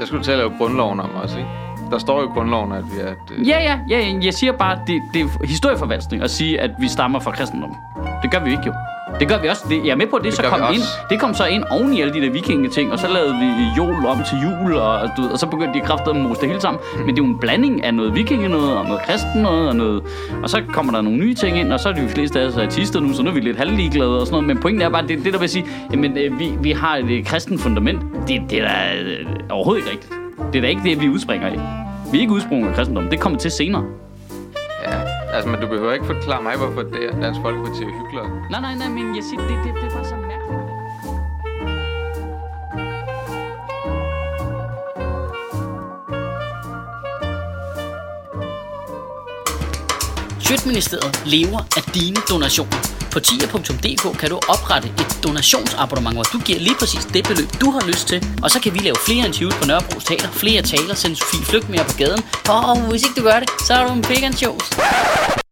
C: Jeg skulle til at lave grundloven om også, ikke? Der står jo i grundloven, at vi er... Et, øh,
A: Ja, ja, ja, ja. jeg siger bare, at det, det er historieforvanskning at sige, at vi stammer fra kristendommen. Det gør vi ikke jo. Det gør vi også. Det, jeg er med på, at det, det så
C: gør vi
A: kom
C: også.
A: ind. Det kom så ind oven i alle de der vikingeting, og så lavede vi jol om til jul, og, du ved, og så begyndte de kræfter at mose det hele sammen.
C: Mm.
A: Men det er jo en blanding af noget vikinge noget, og noget kristen noget, og noget... Og så kommer der nogle nye ting ind, og så er de fleste af os artister nu, så nu er vi lidt halvligeglade og sådan noget. Men pointen er bare, det, er det der vil sige, jamen øh, vi, vi har et øh, kristen fundament, det, det er da øh, overhovedet ikke rigtigt. Det er da ikke det, vi udspringer af. Vi er ikke udsprunget af kristendommen. Det kommer til senere.
C: ja. Altså, men du behøver ikke forklare mig, hvorfor det er Dansk Folkeparti er hyggeligere.
A: Nej, nej, nej, men jeg siger, det, det, det er bare så mærkeligt.
D: Sjøtministeriet lever af dine donationer. På tier.dk kan du oprette et donationsabonnement, hvor du giver lige præcis det beløb, du har lyst til. Og så kan vi lave flere interviews på Nørrebro Teater, flere taler, sende Sofie Flygt mere på gaden. Og hvis ikke du gør det, så er du en big